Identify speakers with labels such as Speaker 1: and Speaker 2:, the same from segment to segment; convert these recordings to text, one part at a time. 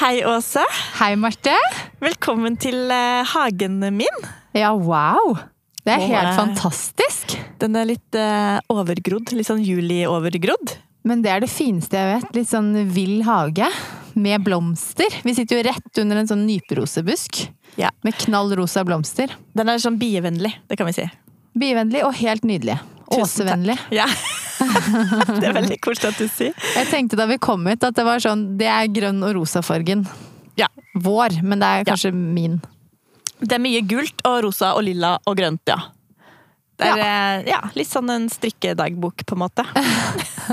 Speaker 1: Hei, Åse.
Speaker 2: Hei, Marte.
Speaker 1: Velkommen til eh, hagen min.
Speaker 2: Ja, wow! Det er
Speaker 1: Nå
Speaker 2: helt
Speaker 1: er-
Speaker 2: fantastisk.
Speaker 1: Den er litt eh, overgrodd. Litt sånn juli-overgrodd.
Speaker 2: Men det er det fineste jeg vet. Litt sånn vill hage med blomster. Vi sitter jo rett under en sånn nyperosebusk
Speaker 1: Ja.
Speaker 2: med knallrosa blomster.
Speaker 1: Den er sånn bievennlig, det kan vi si.
Speaker 2: Bivennlig og helt nydelig.
Speaker 1: Tusen takk.
Speaker 2: Åsevennlig.
Speaker 1: Ja. det er veldig koselig at du sier.
Speaker 2: Jeg tenkte da vi kom hit at det var sånn Det er grønn og rosa-fargen.
Speaker 1: Ja.
Speaker 2: Vår, men det er kanskje min.
Speaker 1: Det er mye gult og rosa og lilla og grønt, ja. Det er eh, ja, litt sånn en strikkedagbok, på en måte.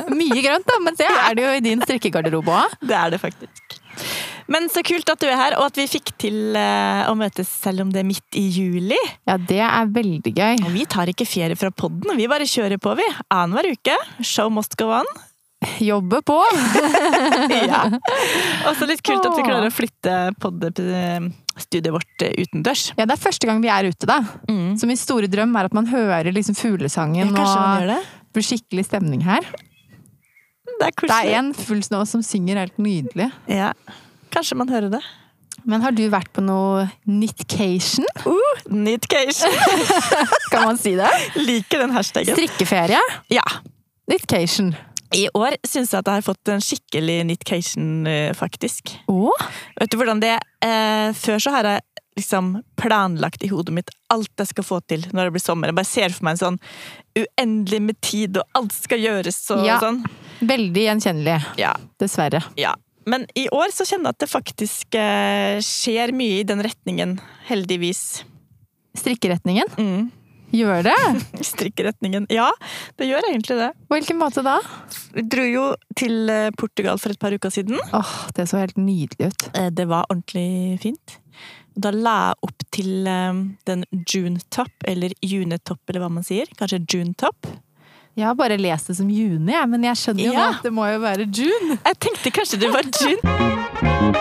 Speaker 2: Mye grønt, da, men det er det jo i din strikkegarderobe òg.
Speaker 1: Det er det faktisk. Men så kult at du er her, og at vi fikk til eh, å møtes selv om det er midt i juli.
Speaker 2: Ja, det er veldig gøy.
Speaker 1: Og vi tar ikke ferie fra podden, vi bare kjører på, vi. Annenhver uke. Show must go on.
Speaker 2: Jobbe på!
Speaker 1: Ja. Og så litt kult at vi
Speaker 2: Åh.
Speaker 1: klarer å flytte podstudiet vårt eh, utendørs.
Speaker 2: Ja, det er første gang vi er ute, da. Så min store drøm er at man hører liksom fuglesangen og
Speaker 1: det?
Speaker 2: blir skikkelig stemning her.
Speaker 1: Det er
Speaker 2: Det er
Speaker 1: koselig.
Speaker 2: en fugl nå som synger helt nydelig.
Speaker 1: Ja. Kanskje man hører det.
Speaker 2: Men har du vært på noe knitcation?
Speaker 1: Uh, Neatcation!
Speaker 2: Kan man si det?
Speaker 1: Liker den hashtagen.
Speaker 2: Strikkeferie?
Speaker 1: Ja.
Speaker 2: Knitcation.
Speaker 1: I år syns jeg at jeg har fått en skikkelig neatcation, eh, faktisk.
Speaker 2: Å?
Speaker 1: Vet du hvordan det eh, Før så har jeg liksom planlagt i hodet mitt alt jeg skal få til når det blir sommer. Jeg bare ser for meg en sånn uendelig med tid, og alt skal gjøres og
Speaker 2: Ja.
Speaker 1: sånn.
Speaker 2: Veldig gjenkjennelig,
Speaker 1: Ja,
Speaker 2: dessverre.
Speaker 1: ja. Men i år så kjenner jeg at det faktisk eh, skjer mye i den retningen, heldigvis.
Speaker 2: Strikkeretningen?
Speaker 1: Mm.
Speaker 2: Gjør det?
Speaker 1: Strikkeretningen. Ja, det gjør egentlig det.
Speaker 2: På hvilken måte da?
Speaker 1: Vi dro jo til eh, Portugal for et par uker siden.
Speaker 2: Åh, det så helt nydelig ut.
Speaker 1: Eh, Det var ordentlig fint. Da la jeg opp til eh, den June Top, eller June Top, eller hva man sier. Kanskje June Top.
Speaker 2: Jeg har bare lest det som juni, jeg, men jeg skjønner jo nå
Speaker 1: Ja.
Speaker 2: at det må jo være june.
Speaker 1: Jeg tenkte kanskje det var June.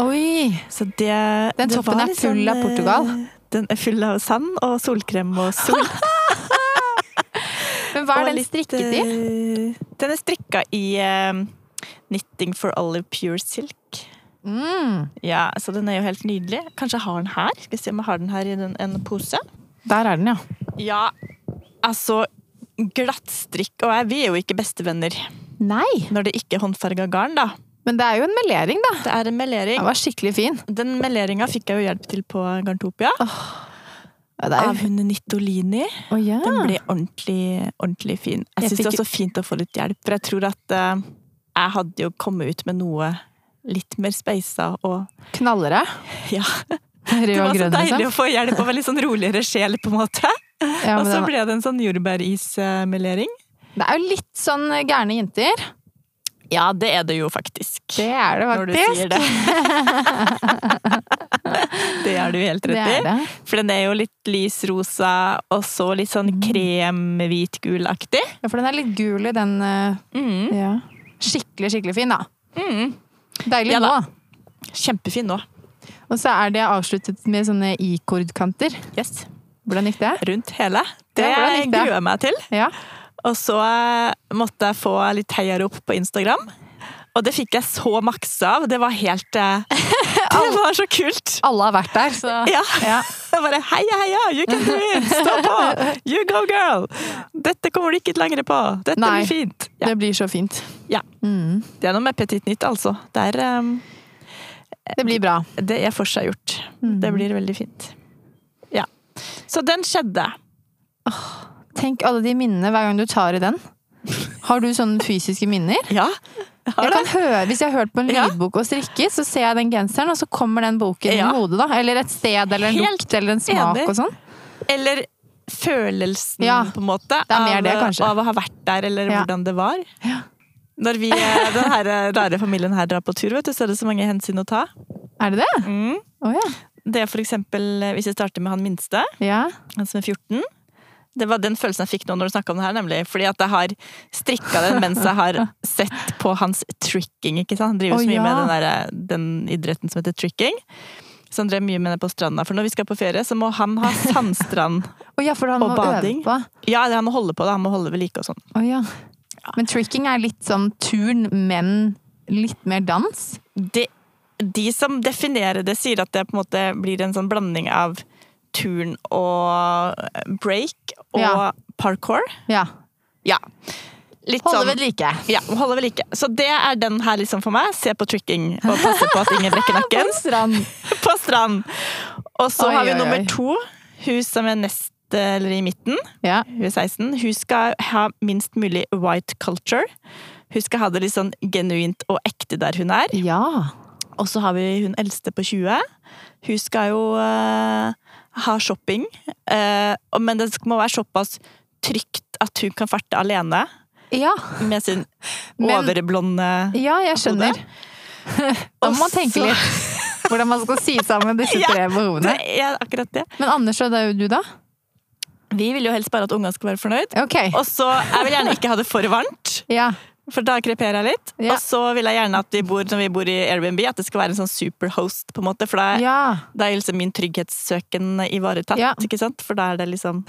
Speaker 2: Oi!
Speaker 1: Så det,
Speaker 2: Den
Speaker 1: det
Speaker 2: toppen
Speaker 1: var
Speaker 2: er
Speaker 1: litt
Speaker 2: full av
Speaker 1: eh,
Speaker 2: Portugal.
Speaker 1: Den er full av sand og solkrem og sol.
Speaker 2: Men hva
Speaker 1: og
Speaker 2: er den
Speaker 1: litt,
Speaker 2: strikket i?
Speaker 1: eh, Den er strikka i eh, Knitting for Olive Pure Silk.
Speaker 2: Mm.
Speaker 1: Ja, Så den er jo helt nydelig. Kanskje jeg har den her? Skal vi se om jeg har den her i den, en pose.
Speaker 2: Der er den, ja.
Speaker 1: Ja, altså Glattstrikk og jeg, vi er jo ikke bestevenner
Speaker 2: Nei!
Speaker 1: når det ikke er håndfarga garn, da.
Speaker 2: Men det er jo en melering, da.
Speaker 1: Det er en melering.
Speaker 2: Den var skikkelig fin.
Speaker 1: Den meleringa fikk jeg jo hjelp til på Garntopia.
Speaker 2: Ja, det er
Speaker 1: Av
Speaker 2: jo...
Speaker 1: hun Nittolini.
Speaker 2: Å, ja.
Speaker 1: Den ble ordentlig, ordentlig fin. Ah. Jeg
Speaker 2: Jeg
Speaker 1: syns det
Speaker 2: fikk-
Speaker 1: var så fint å få litt hjelp, for jeg tror at eh, jeg hadde jo kommet ut med noe litt mer speisa og
Speaker 2: Knallere.
Speaker 1: Ja.
Speaker 2: Rød
Speaker 1: Det
Speaker 2: og
Speaker 1: var så
Speaker 2: grønn,
Speaker 1: deilig
Speaker 2: liksom.
Speaker 1: å få hjelp av en litt sånn roligere sjel, på en måte.
Speaker 2: Ja, men
Speaker 1: og så
Speaker 2: den-
Speaker 1: ble det en sånn jordbærismelering.
Speaker 2: Det er jo litt sånn gærne jenter.
Speaker 1: Ja, det er det jo faktisk.
Speaker 2: Det er det
Speaker 1: Når du sier
Speaker 2: faktisk.
Speaker 1: det. det er du helt
Speaker 2: Det
Speaker 1: rett
Speaker 2: er
Speaker 1: i.
Speaker 2: det.
Speaker 1: For den er jo litt lys rosa, og så litt sånn
Speaker 2: Mm.
Speaker 1: krem-hvit-gul-aktig.
Speaker 2: Ja, for den er litt gul i den eh,
Speaker 1: Mm.
Speaker 2: ja. Skikkelig, skikkelig fin, da. Deilig
Speaker 1: Ja da.
Speaker 2: nå.
Speaker 1: Kjempefin nå.
Speaker 2: Og så er det avsluttet med sånne i-kordkanter.
Speaker 1: Yes.
Speaker 2: Hvordan gikk det?
Speaker 1: Rundt hele. Det
Speaker 2: Ja, hvordan gikk det?
Speaker 1: gruer jeg meg til.
Speaker 2: Ja.
Speaker 1: Og så eh, måtte jeg få litt heiarop på Instagram. Og det fikk jeg så makse av. Det var helt eh, Det var så kult!
Speaker 2: Alle har vært der, så
Speaker 1: Ja.
Speaker 2: Ja.
Speaker 1: Jeg bare heia, heia! You can do it! Stå på! You go, girl! Dette kommer du ikke lenger på. Dette
Speaker 2: Nei.
Speaker 1: blir fint. Ja.
Speaker 2: Det blir så fint.
Speaker 1: Ja.
Speaker 2: Mm.
Speaker 1: Det er noe med Petit Nytt, altså. Det er, ehm,
Speaker 2: Det blir bra.
Speaker 1: det er forseggjort.
Speaker 2: Mhm.
Speaker 1: Det blir veldig fint. Ja. Så den skjedde.
Speaker 2: Tenk alle de minnene hver gang du tar i den. Har du sånne fysiske minner?
Speaker 1: Ja.
Speaker 2: Jeg kan høre, Hvis jeg har hørt på en
Speaker 1: Ja.
Speaker 2: lydbok og strikker, så ser jeg den genseren, og så kommer den boken
Speaker 1: Ja.
Speaker 2: i hodet, da. Eller et sted, eller en
Speaker 1: Helt
Speaker 2: lukt, eller en smak
Speaker 1: enig.
Speaker 2: og sånn.
Speaker 1: Eller følelsen,
Speaker 2: Ja,
Speaker 1: på en måte.
Speaker 2: det er mer det,
Speaker 1: av,
Speaker 2: kanskje.
Speaker 1: av å ha vært der, eller
Speaker 2: Ja.
Speaker 1: hvordan det var. Når vi, eh, den her eh, rare familien her drar på tur, vet du, så er det så mange hensyn å ta.
Speaker 2: Er det det?
Speaker 1: Mm.
Speaker 2: Å ja.
Speaker 1: Det er for eksempel, eh, hvis jeg starter med han minste,
Speaker 2: ja.
Speaker 1: han som er 14. Altså, Det var den følelsen jeg fikk nå når du snakka om det her, nemlig. Fordi at jeg har strikka den mens jeg har sett på hans tricking, ikke sant. Han driver
Speaker 2: Å,
Speaker 1: så mye
Speaker 2: ja.
Speaker 1: med den, der, eh, den idretten som heter tricking. Så han drev mye med det på stranda. For når vi skal på ferie, så må han ha sandstrand.
Speaker 2: Å ja, for han
Speaker 1: Og
Speaker 2: må
Speaker 1: bading.
Speaker 2: øve på.
Speaker 1: Ja, han må holde på det. Han må holde ved like og sånn.
Speaker 2: Å ja. Men tricking er litt sånn turn, men litt mer dans.
Speaker 1: Det de som definerer det, sier at det på en måte blir en sånn blanding av turn og break og
Speaker 2: Ja.
Speaker 1: parkour.
Speaker 2: Ja.
Speaker 1: Ja. Litt
Speaker 2: Holde
Speaker 1: sånn,
Speaker 2: ved like.
Speaker 1: Ja, holde ved like. Så det er den her liksom for meg. Se på tricking og passe på at ingen brekker
Speaker 2: På
Speaker 1: nakken
Speaker 2: en strand.
Speaker 1: på strand. Og så
Speaker 2: Oi,
Speaker 1: har vi
Speaker 2: oi, oi.
Speaker 1: nummer to, hun som er nest eller i midten.
Speaker 2: Ja.
Speaker 1: Hun er 16. Hun skal ha minst mulig white culture. Hun skal ha det litt sånn genuint og ekte der hun er.
Speaker 2: ja.
Speaker 1: Og så har vi hun eldste på 20. Hun skal jo eh, ha shopping, eh, og- men det må være såpass trygt at hun kan farte alene
Speaker 2: Ja.
Speaker 1: med sin
Speaker 2: Men-
Speaker 1: overblonde
Speaker 2: Ja, jeg skjønner. Da må man tenke
Speaker 1: Og så-
Speaker 2: litt hvordan man skal sy sammen disse tre behovene.
Speaker 1: Det er akkurat det.
Speaker 2: Men Anders og du, da?
Speaker 1: Vi vil jo helst bare at ungene skal være fornøyd.
Speaker 2: Ok.
Speaker 1: Og så, Jeg vil gjerne ikke ha det for varmt,
Speaker 2: Ja.
Speaker 1: for da kreperer jeg litt.
Speaker 2: Ja.
Speaker 1: Og så vil jeg gjerne at vi bor, når vi bor i Airbnb, at det skal være en sånn superhost, på en måte. For da er,
Speaker 2: ja.
Speaker 1: da er liksom min trygghetssøken ivaretatt,
Speaker 2: Ja.
Speaker 1: ikke sant? For da er det liksom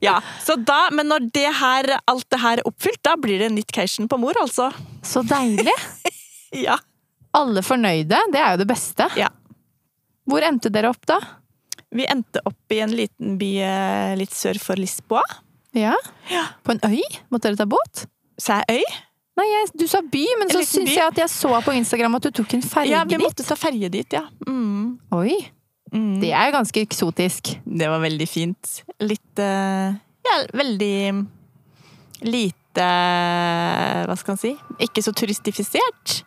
Speaker 1: Ja. Så da, men når det her, alt det her er oppfylt, da blir det nytt cation på mor, altså.
Speaker 2: Så deilig.
Speaker 1: Ja.
Speaker 2: Alle fornøyde. Det er jo det beste.
Speaker 1: Ja.
Speaker 2: Hvor endte dere opp, da?
Speaker 1: Vi endte opp i en liten by eh, litt sør for Lisboa.
Speaker 2: Ja.
Speaker 1: Ja.
Speaker 2: På en øy? Måtte dere ta båt?
Speaker 1: Sa jeg øy?
Speaker 2: Nei, jeg, du sa by, men
Speaker 1: En
Speaker 2: så
Speaker 1: liten
Speaker 2: syns
Speaker 1: by.
Speaker 2: jeg at jeg så på Instagram at du tok en ferge
Speaker 1: Ja, vi
Speaker 2: dit.
Speaker 1: måtte ta ferje dit, ja. Mm.
Speaker 2: Oi,
Speaker 1: Mm.
Speaker 2: det er jo ganske eksotisk.
Speaker 1: Det var veldig fint. Litt eh, Ja, veldig lite Hva skal man si? Ikke så turistifisert.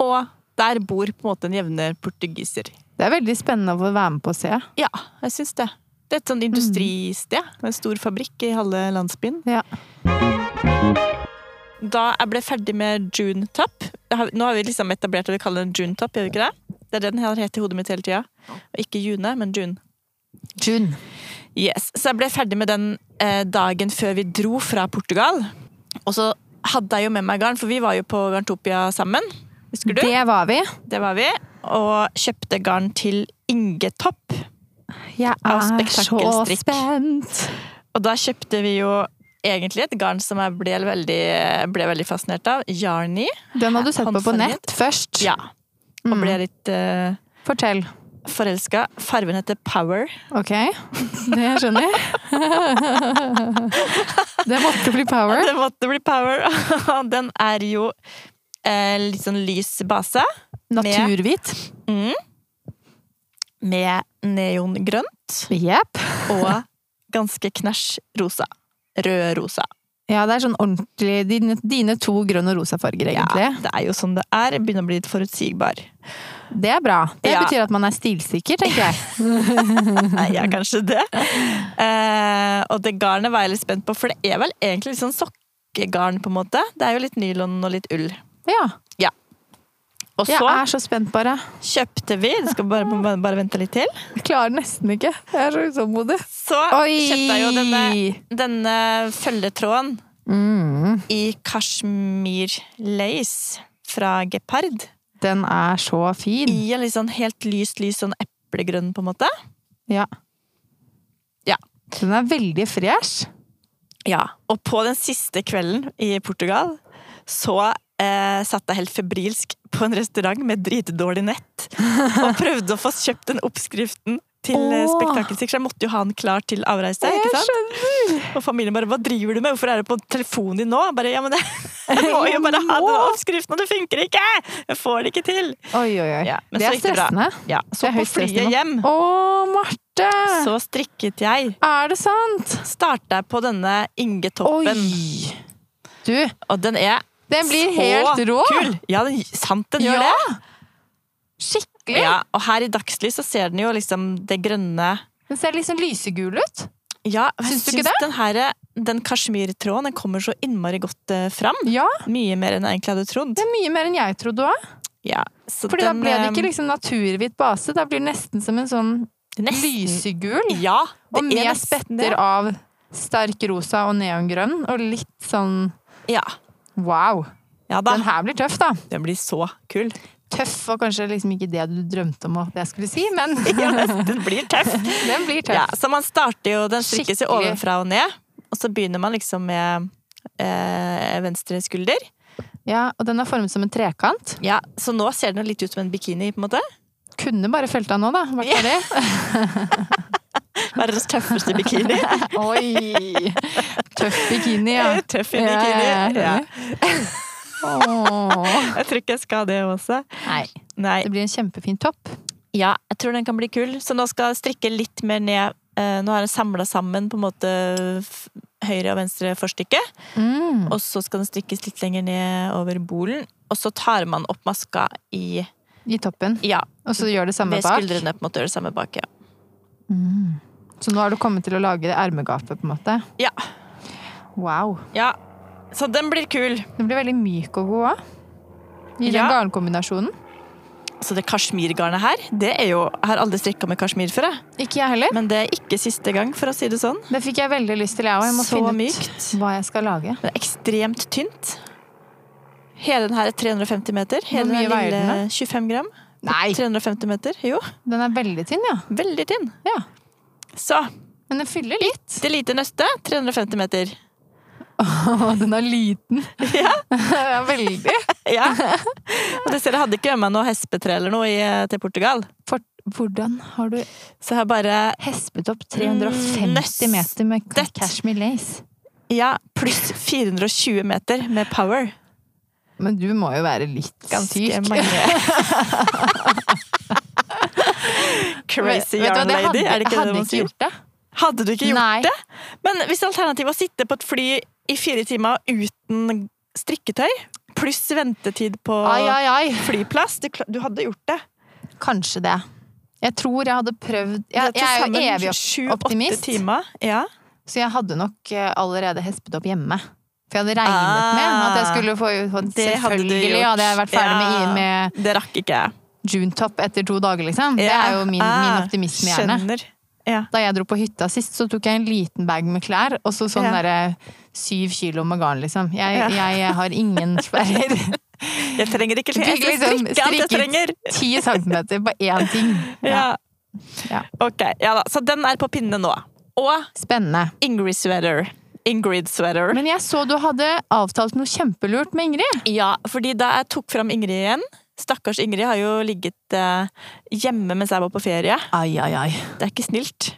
Speaker 1: Og der bor på en måte en jevne portugiser.
Speaker 2: Det er veldig spennende å få være med på å se.
Speaker 1: Ja, jeg syns det. Det er et sånt industristed. med En stor fabrikk i halve landsbyen.
Speaker 2: Ja.
Speaker 1: Da jeg ble ferdig med Junetop Nå har vi liksom etablert det vi kaller en Junetop, gjør vi ikke det? Det er det den har hett i hodet mitt hele tida. Og ikke June, men June.
Speaker 2: June.
Speaker 1: Yes, Så jeg ble ferdig med den eh, dagen før vi dro fra Portugal. Og så hadde jeg jo med meg garn, for vi var jo på Garntopia sammen. Husker du? Det,
Speaker 2: Det var vi.
Speaker 1: var vi. Og kjøpte garn til Ingetopp.
Speaker 2: Jeg
Speaker 1: Av
Speaker 2: er så
Speaker 1: spekkelstrikk.
Speaker 2: spent.
Speaker 1: Og da kjøpte vi jo egentlig et garn som jeg ble veldig, ble veldig fascinert av. Yarny.
Speaker 2: Den hadde du sett på på
Speaker 1: Håndfarget.
Speaker 2: nett først. Mm.
Speaker 1: Ja. Og ble litt eh,
Speaker 2: Fortell.
Speaker 1: forelska. Fargen heter Power.
Speaker 2: Ok, det skjønner jeg. Det måtte bli power.
Speaker 1: Det måtte bli Power. den er jo eh, litt sånn lys base.
Speaker 2: Naturhvit.
Speaker 1: Mm. Med neongrønt
Speaker 2: Jepp.
Speaker 1: og ganske knæsj rosa. Rød rosa.
Speaker 2: Ja, det er sånn ordentlig dine, dine to grønn og rosa farger, egentlig.
Speaker 1: det er jo sånn det er. Jeg Begynner å bli litt forutsigbar.
Speaker 2: Det er bra. Det
Speaker 1: Ja.
Speaker 2: betyr at man er stilsikker, tenker jeg.
Speaker 1: Nei, jeg er kanskje det. Eh, og det garnet var jeg litt spent på, for det er vel egentlig litt sånn sokkegarn, på en måte. Det er jo litt nylon og litt ull.
Speaker 2: Ja.
Speaker 1: Og
Speaker 2: Jeg
Speaker 1: så
Speaker 2: er så spent, bare.
Speaker 1: kjøpte vi Du skal bare, må bare, bare vente litt til.
Speaker 2: Jeg klarer nesten ikke. Jeg er så utålmodig.
Speaker 1: Så
Speaker 2: Oi!
Speaker 1: kjøpte jeg jo denne, denne følgetråden
Speaker 2: Mm,
Speaker 1: i kashmir lace fra gepard.
Speaker 2: den er så fin.
Speaker 1: I en litt sånn helt lyst, lys sånn eplegrønn, på en måte.
Speaker 2: Ja.
Speaker 1: Ja.
Speaker 2: Den er veldig fresh.
Speaker 1: Ja. Og på den siste kvelden i Portugal så eh, satt jeg helt febrilsk på en restaurant med dritdårlig nett og prøvde å få kjøpt den oppskriften til eh,
Speaker 2: Åh.
Speaker 1: spektakelstrekk. Så jeg måtte jo ha den klar til avreise.
Speaker 2: Jeg
Speaker 1: ikke sant?
Speaker 2: skjønner.
Speaker 1: Og familien bare 'hva driver du med, hvorfor er du på telefonen din nå?' Jeg Bare, ja, men jeg, jeg må jo bare ha den oppskriften, og det funker ikke! Jeg får det ikke til!
Speaker 2: Oi, oi, oi.
Speaker 1: Ja, men
Speaker 2: det
Speaker 1: så
Speaker 2: er
Speaker 1: gikk det bra.
Speaker 2: stressende.
Speaker 1: Ja, så
Speaker 2: Det er
Speaker 1: på
Speaker 2: høyt stressnivå.
Speaker 1: flyet hjem
Speaker 2: Å, Marte!
Speaker 1: så strikket jeg.
Speaker 2: Er det sant?
Speaker 1: Starta jeg på denne Ingetoppen,
Speaker 2: Oi! Du,
Speaker 1: og den er
Speaker 2: den
Speaker 1: så
Speaker 2: blir helt rå!
Speaker 1: Kul. Ja, den, sant den gjør
Speaker 2: Ja,
Speaker 1: det.
Speaker 2: Skikkelig!
Speaker 1: Ja, og her i dagslys så ser den jo liksom det grønne
Speaker 2: Den ser liksom lysegul ut.
Speaker 1: Ja, jeg
Speaker 2: Syns
Speaker 1: syns
Speaker 2: du ikke det?
Speaker 1: den her den kasjmirtråden den kommer så innmari godt eh, fram.
Speaker 2: Ja,
Speaker 1: Mye mer enn jeg egentlig hadde trodd.
Speaker 2: det er mye mer enn jeg trodde òg.
Speaker 1: Ja, så
Speaker 2: Fordi da
Speaker 1: den,
Speaker 2: ble det
Speaker 1: eh,
Speaker 2: ikke liksom naturhvit base, da blir det nesten som en sånn
Speaker 1: nesten-
Speaker 2: lysegul.
Speaker 1: Ja, det
Speaker 2: Og med
Speaker 1: er nesten
Speaker 2: spetter
Speaker 1: det.
Speaker 2: av sterk rosa og neongrønn, og litt sånn
Speaker 1: Ja.
Speaker 2: wow.
Speaker 1: ja da.
Speaker 2: Den her blir tøff, da.
Speaker 1: Den blir så kul.
Speaker 2: Tøff var kanskje liksom ikke det du drømte om at jeg skulle si, men
Speaker 1: Den blir tøff.
Speaker 2: den blir tøff.
Speaker 1: Ja, så man starter jo, den strikkes jo
Speaker 2: Skikkelig.
Speaker 1: ovenfra og ned, og så begynner man liksom med eh, venstre skulder.
Speaker 2: Ja, og den er formet som en trekant.
Speaker 1: Ja, Så nå ser den jo litt ut som en bikini, på en måte.
Speaker 2: Kunne bare felt av nå, da. Vært
Speaker 1: Ja.
Speaker 2: ferdig.
Speaker 1: Verdens tøffeste bikini.
Speaker 2: Oi! Tøff bikini, ja.
Speaker 1: Tøff i bikini. Ja,
Speaker 2: Ja, ja, Åh.
Speaker 1: Jeg tror ikke jeg skal ha det også.
Speaker 2: Nei,
Speaker 1: Nei.
Speaker 2: det blir en kjempefin topp.
Speaker 1: Ja, jeg tror den kan bli kul. Så nå skal jeg strikke litt mer ned. Eh, Nå har jeg samla sammen på en måte f- høyre og venstre forstykke.
Speaker 2: Mm.
Speaker 1: Og så skal den strikkes litt lenger ned over bolen. Og så tar man opp maska i
Speaker 2: I toppen.
Speaker 1: Ja,
Speaker 2: Og så gjør det samme
Speaker 1: ved
Speaker 2: bak.
Speaker 1: skuldrene. på en måte gjør det samme bak, ja.
Speaker 2: Så nå har du kommet til å lage det ermegapet, på en måte.
Speaker 1: Ja.
Speaker 2: Wow.
Speaker 1: ja. Så den blir kul.
Speaker 2: Den blir veldig myk og god òg. I den
Speaker 1: Ja.
Speaker 2: garnkombinasjonen.
Speaker 1: Så det kasjmirgarnet her, det er jo Jeg har aldri strikka med kasjmir før, jeg.
Speaker 2: Ikke jeg heller.
Speaker 1: Men det er ikke siste gang, for å si det sånn.
Speaker 2: Det fikk jeg veldig lyst til, jeg òg. Jeg må
Speaker 1: Så
Speaker 2: finne ut
Speaker 1: mykt.
Speaker 2: hva jeg skal lage.
Speaker 1: Det er ekstremt tynt. Hele den her er 350 meter. Hele
Speaker 2: Hvor mye
Speaker 1: den her
Speaker 2: veier den,
Speaker 1: lille 25 gram.
Speaker 2: Nei!
Speaker 1: 350 meter. Jo,
Speaker 2: Den er veldig tynn, ja.
Speaker 1: veldig tynn.
Speaker 2: ja.
Speaker 1: Så
Speaker 2: Men den fyller litt.
Speaker 1: det lite nøste, 350 meter.
Speaker 2: Å, den er liten. Ja. veldig.
Speaker 1: Ja. Og det ser jeg hadde ikke med meg noe hespetre eller noe i, eh, til Portugal.
Speaker 2: For, hvordan har du
Speaker 1: Så jeg har bare
Speaker 2: hespet opp
Speaker 1: Mm,
Speaker 2: 350
Speaker 1: nøstet.
Speaker 2: meter med ka- cashmere lace?
Speaker 1: ja, pluss 420 meter med power.
Speaker 2: Men du må jo være litt
Speaker 1: Ganske
Speaker 2: syk.
Speaker 1: mange. Crazy
Speaker 2: Vet du hva,
Speaker 1: yarn lady,
Speaker 2: hadde-
Speaker 1: er det ikke det
Speaker 2: hadde
Speaker 1: man
Speaker 2: ikke
Speaker 1: sier?
Speaker 2: gjort det.
Speaker 1: Hadde du ikke gjort
Speaker 2: Nei.
Speaker 1: det? Men hvis alternativet var å sitte på et fly i fire timer uten strikketøy, pluss ventetid på
Speaker 2: Ai, ai, ai.
Speaker 1: flyplass, du, kla- du hadde gjort det.
Speaker 2: Kanskje det. Jeg tror jeg hadde prøvd Jeg,
Speaker 1: Det
Speaker 2: jeg er jo
Speaker 1: til
Speaker 2: evig opp,
Speaker 1: sammen
Speaker 2: optimist.
Speaker 1: Sju-åtte timer. Ja.
Speaker 2: så jeg hadde nok eh, allerede hespet opp hjemme. For jeg hadde regnet
Speaker 1: Ah,
Speaker 2: med at jeg skulle få få-
Speaker 1: det hadde du
Speaker 2: Selvfølgelig
Speaker 1: gjort.
Speaker 2: hadde jeg vært ferdig
Speaker 1: Ja.
Speaker 2: med, med
Speaker 1: Det rakk ikke jeg.
Speaker 2: Junetop etter to dager, liksom. Det er jo min, min
Speaker 1: Ah,
Speaker 2: optimisme i hjernen.
Speaker 1: Skjønner. Ja.
Speaker 2: Da jeg dro på hytta sist, så tok jeg en liten bag med klær, og så sånn
Speaker 1: Ja.
Speaker 2: derre syv kilo med garn, liksom. Jeg,
Speaker 1: Ja.
Speaker 2: jeg har ingen sperrer.
Speaker 1: Jeg trenger ikke Jeg
Speaker 2: Fikk
Speaker 1: skal
Speaker 2: liksom
Speaker 1: strikke alt jeg trenger!
Speaker 2: Ti centimeter på én ting.
Speaker 1: Ja.
Speaker 2: Ja.
Speaker 1: Ok, ja da. Så den er på pinne nå. Og
Speaker 2: Spennende.
Speaker 1: Ingrid sweater. Ingrid sweater.
Speaker 2: Men jeg så du hadde avtalt noe kjempelurt med Ingrid.
Speaker 1: Ja, fordi da jeg tok fram Ingrid igjen Stakkars Ingrid har jo ligget eh, hjemme mens jeg var på ferie.
Speaker 2: Ai, ai, ai.
Speaker 1: Det er ikke snilt.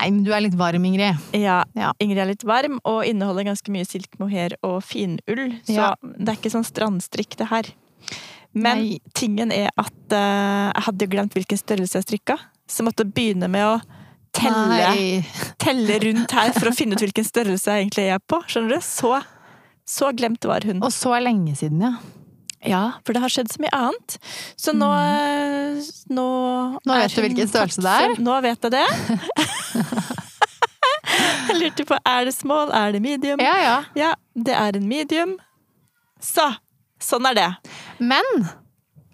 Speaker 2: Nei, men du er litt varm, Ingrid.
Speaker 1: Ja,
Speaker 2: Ja.
Speaker 1: Ingrid er litt varm og inneholder ganske mye silk mohair og finull. Så
Speaker 2: Ja.
Speaker 1: det er ikke sånn strandstrikk, det her. Men
Speaker 2: Nei.
Speaker 1: tingen er at eh, jeg hadde jo glemt hvilken størrelse jeg strikka. Så jeg måtte begynne med å telle,
Speaker 2: Nei.
Speaker 1: telle rundt her for å finne ut hvilken størrelse jeg egentlig er på. Skjønner du? Så, så glemt var hun.
Speaker 2: Og så lenge siden, ja.
Speaker 1: Ja, for det har skjedd så mye annet. Så nå eh, Nå,
Speaker 2: Mm. Nå
Speaker 1: er
Speaker 2: vet du
Speaker 1: hun
Speaker 2: hvilken
Speaker 1: tatt
Speaker 2: størrelse det er.
Speaker 1: for- Nå vet jeg det. jeg lurte på er det small, er det medium?
Speaker 2: Ja, ja.
Speaker 1: Ja, det er en medium. Så, sånn er det.
Speaker 2: Men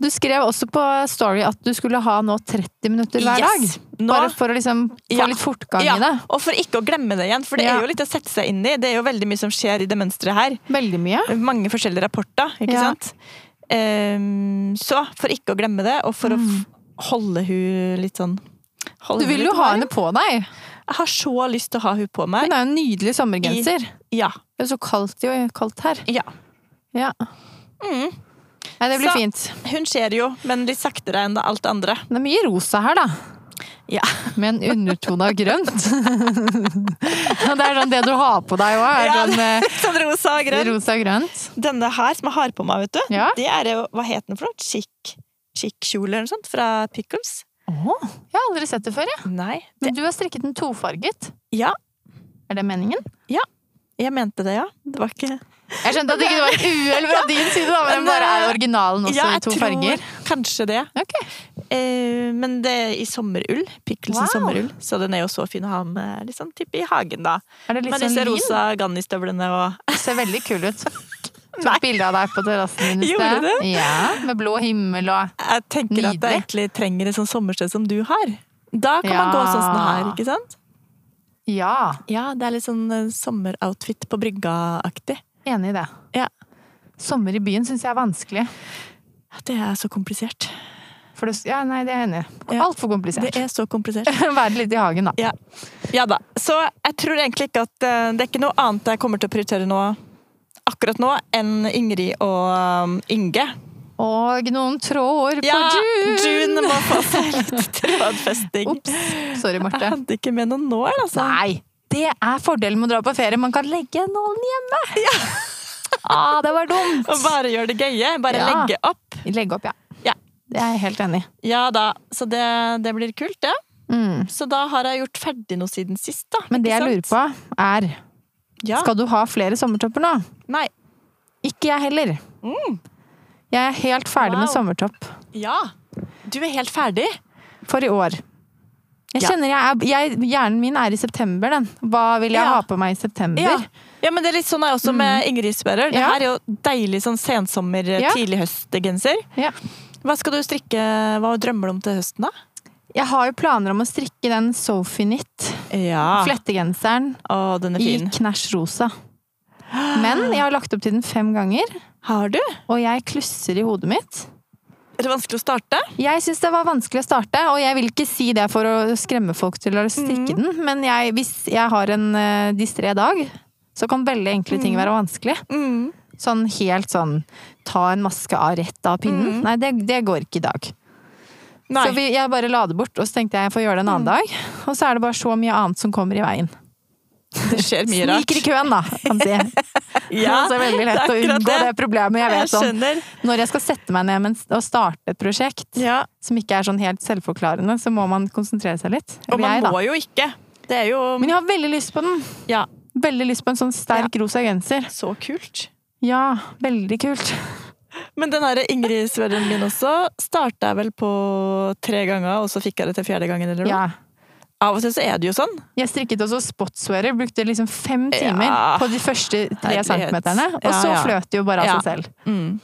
Speaker 2: du skrev også på Story at du skulle ha nå 30 minutter hver
Speaker 1: Yes.
Speaker 2: dag.
Speaker 1: Nå-
Speaker 2: Bare for å liksom få
Speaker 1: Ja.
Speaker 2: litt fortgang
Speaker 1: Ja,
Speaker 2: i det.
Speaker 1: og for ikke å glemme det igjen, for det
Speaker 2: Ja.
Speaker 1: er jo litt å sette seg inn i. Det er jo veldig mye som skjer i det mønsteret her.
Speaker 2: Veldig mye.
Speaker 1: Mange forskjellige rapporter, ikke
Speaker 2: Ja.
Speaker 1: sant? Ehm, så, for ikke å glemme det, og for å f- holde hun litt sånn holde
Speaker 2: Mm. Du
Speaker 1: hun
Speaker 2: vil
Speaker 1: litt
Speaker 2: jo ha
Speaker 1: varm.
Speaker 2: henne på deg.
Speaker 1: Jeg har så lyst til å ha hun på meg.
Speaker 2: Hun er jo en nydelig sommergenser.
Speaker 1: Ja.
Speaker 2: Det er så kaldt, jo, kaldt her.
Speaker 1: ja.
Speaker 2: Ja. Nei, det
Speaker 1: Mm.
Speaker 2: blir
Speaker 1: Så-
Speaker 2: fint.
Speaker 1: Hun skjer jo, men litt saktere enn alt det andre.
Speaker 2: Det er mye rosa her, da.
Speaker 1: Ja.
Speaker 2: Med en undertone av grønt. Og det er sånn det du har på deg òg.
Speaker 1: Ja,
Speaker 2: Sånn, eh,
Speaker 1: Sånn rosa og grønn.
Speaker 2: rosa og grønt.
Speaker 1: Denne her som jeg har på meg, vet du,
Speaker 2: Ja.
Speaker 1: det er jo Hva het den for noe? Chic? Chic-kjole eller noe sånt? Fra Pickles?
Speaker 2: Åh, jeg har aldri sett det før, jeg.
Speaker 1: Nei. Det,
Speaker 2: Men du har strikket den tofarget.
Speaker 1: ja,
Speaker 2: Er det meningen?
Speaker 1: jeg mente det, ja. Det var ikke
Speaker 2: Jeg skjønte at det ikke var et uhell fra din side, da,
Speaker 1: Men,
Speaker 2: men den bare er
Speaker 1: eh,
Speaker 2: originalen også
Speaker 1: ja,
Speaker 2: i to farger.
Speaker 1: kanskje det.
Speaker 2: Ok.
Speaker 1: Eh, men det er i sommerull. Pickles
Speaker 2: Wow.
Speaker 1: i sommerull. Så den er jo så fin å ha med liksom, typ i hagen, da.
Speaker 2: Er det litt
Speaker 1: Med
Speaker 2: sånn
Speaker 1: disse
Speaker 2: lin?
Speaker 1: rosa gannistøvlene og
Speaker 2: Det ser veldig kul ut. Tok bilde av deg på terrassen min i sted.
Speaker 1: Gjorde du?
Speaker 2: Ja, med blå himmel og
Speaker 1: Jeg tenker at jeg
Speaker 2: Nydelig.
Speaker 1: egentlig trenger et sånt sommersted som du har. Da kan
Speaker 2: Ja.
Speaker 1: man gå sånn som det her, ikke sant?
Speaker 2: Ja,
Speaker 1: Ja, det er litt sånn eh, sommeroutfit på brygga-aktig.
Speaker 2: enig i det.
Speaker 1: Ja.
Speaker 2: Sommer i byen syns jeg er vanskelig.
Speaker 1: Det er så komplisert.
Speaker 2: For det, ja, nei, det er jeg enig i.
Speaker 1: Ja.
Speaker 2: Altfor
Speaker 1: Det
Speaker 2: komplisert.
Speaker 1: er så komplisert.
Speaker 2: Være litt i hagen, da.
Speaker 1: Ja. ja da. Så jeg tror egentlig ikke at eh, det er ikke noe annet jeg kommer til å prioritere nå akkurat nå enn Ingrid og um, Inge.
Speaker 2: Og noen tråder på June!
Speaker 1: June må få seg litt trådfesting.
Speaker 2: Ops. Sorry,
Speaker 1: Jeg
Speaker 2: Marte.
Speaker 1: hadde ikke med noen nål, altså.
Speaker 2: Nei! Det er fordelen med å dra på ferie. Man kan legge nålen hjemme! ah, det var dumt!
Speaker 1: Og bare gjøre det gøye. Bare
Speaker 2: Ja.
Speaker 1: legge opp.
Speaker 2: Legge opp, ja.
Speaker 1: Ja.
Speaker 2: Det er jeg helt enig i.
Speaker 1: Ja da. Så det, det blir kult, det.
Speaker 2: Mm.
Speaker 1: Så da har jeg gjort ferdig noe siden sist, da.
Speaker 2: Men det jeg lurer på, er
Speaker 1: ja.
Speaker 2: Skal du ha flere sommertopper nå?
Speaker 1: Nei.
Speaker 2: Ikke jeg heller. Jeg er helt ferdig med
Speaker 1: Mm. Wow.
Speaker 2: sommertopp
Speaker 1: Ja. Du er helt ferdig.
Speaker 2: for i år. Jeg
Speaker 1: Ja.
Speaker 2: kjenner jeg, er- jeg, Hjernen min er i september, den. Hva vil jeg
Speaker 1: Ja.
Speaker 2: ha på meg i september?
Speaker 1: Ja. ja, men det er litt sånn jeg også med Ingrid Sperrer. Det
Speaker 2: Mm. Ja.
Speaker 1: her er jo deilig sånn sensommer,
Speaker 2: Ja.
Speaker 1: tidlig høstgenser.
Speaker 2: Ja.
Speaker 1: Hva skal du strikke, hva drømmer du om til høsten, da?
Speaker 2: Jeg har jo planer om å strikke den Sofinit,
Speaker 1: Ja.
Speaker 2: flettegenseren,
Speaker 1: Å, den er
Speaker 2: i
Speaker 1: Ah. fin.
Speaker 2: knæsj rosa. Men jeg har lagt opp til den fem ganger,
Speaker 1: Har du?
Speaker 2: og jeg klusser i hodet mitt.
Speaker 1: Er det vanskelig å starte?
Speaker 2: Jeg syns det var vanskelig å starte, og jeg vil ikke si det for å skremme folk til å strikke
Speaker 1: Mhm.
Speaker 2: den, men jeg, hvis jeg har en eh, distré dag, så kan veldig enkle
Speaker 1: Mhm.
Speaker 2: ting være vanskelig.
Speaker 1: Mm.
Speaker 2: Sånn helt sånn ta en maske av rett av pinnen. Nei, det, det går ikke i dag.
Speaker 1: Mhm. Nei. Mhm.
Speaker 2: Så vi, jeg bare la det bort, og så tenkte jeg jeg får gjøre det en annen dag. Og så er det bare så mye annet som kommer i veien.
Speaker 1: Det skjer mye rart.
Speaker 2: Sniker i køen, da, kan man si.
Speaker 1: Ja,
Speaker 2: så det er veldig lett
Speaker 1: det er
Speaker 2: å
Speaker 1: akkurat
Speaker 2: unngå det.
Speaker 1: det.
Speaker 2: problemet. Jeg
Speaker 1: Jeg
Speaker 2: vet sånn,
Speaker 1: skjønner.
Speaker 2: Når jeg skal sette meg ned mens, og starte et prosjekt
Speaker 1: Ja.
Speaker 2: som ikke er sånn helt selvforklarende, så må man konsentrere seg litt.
Speaker 1: Og
Speaker 2: Eller
Speaker 1: man
Speaker 2: jeg, da.
Speaker 1: må jo ikke. Det er jo
Speaker 2: Men jeg har veldig lyst på den.
Speaker 1: Ja,
Speaker 2: Veldig lyst på en sånn sterk rosa genser.
Speaker 1: så kult.
Speaker 2: Ja, veldig kult.
Speaker 1: Men den her Ingrid Sverren min også starta jeg vel på tre ganger, og så fikk jeg det til fjerde gangen, eller noe.
Speaker 2: Ja.
Speaker 1: Av og til så er det jo sånn.
Speaker 2: Jeg strikket også spotsweater, brukte liksom fem
Speaker 1: Ja.
Speaker 2: timer på de første tre
Speaker 1: Herlighet.
Speaker 2: centimeterne, og
Speaker 1: Ja,
Speaker 2: så
Speaker 1: ja.
Speaker 2: fløt det jo bare av
Speaker 1: Ja. Mm.
Speaker 2: seg selv.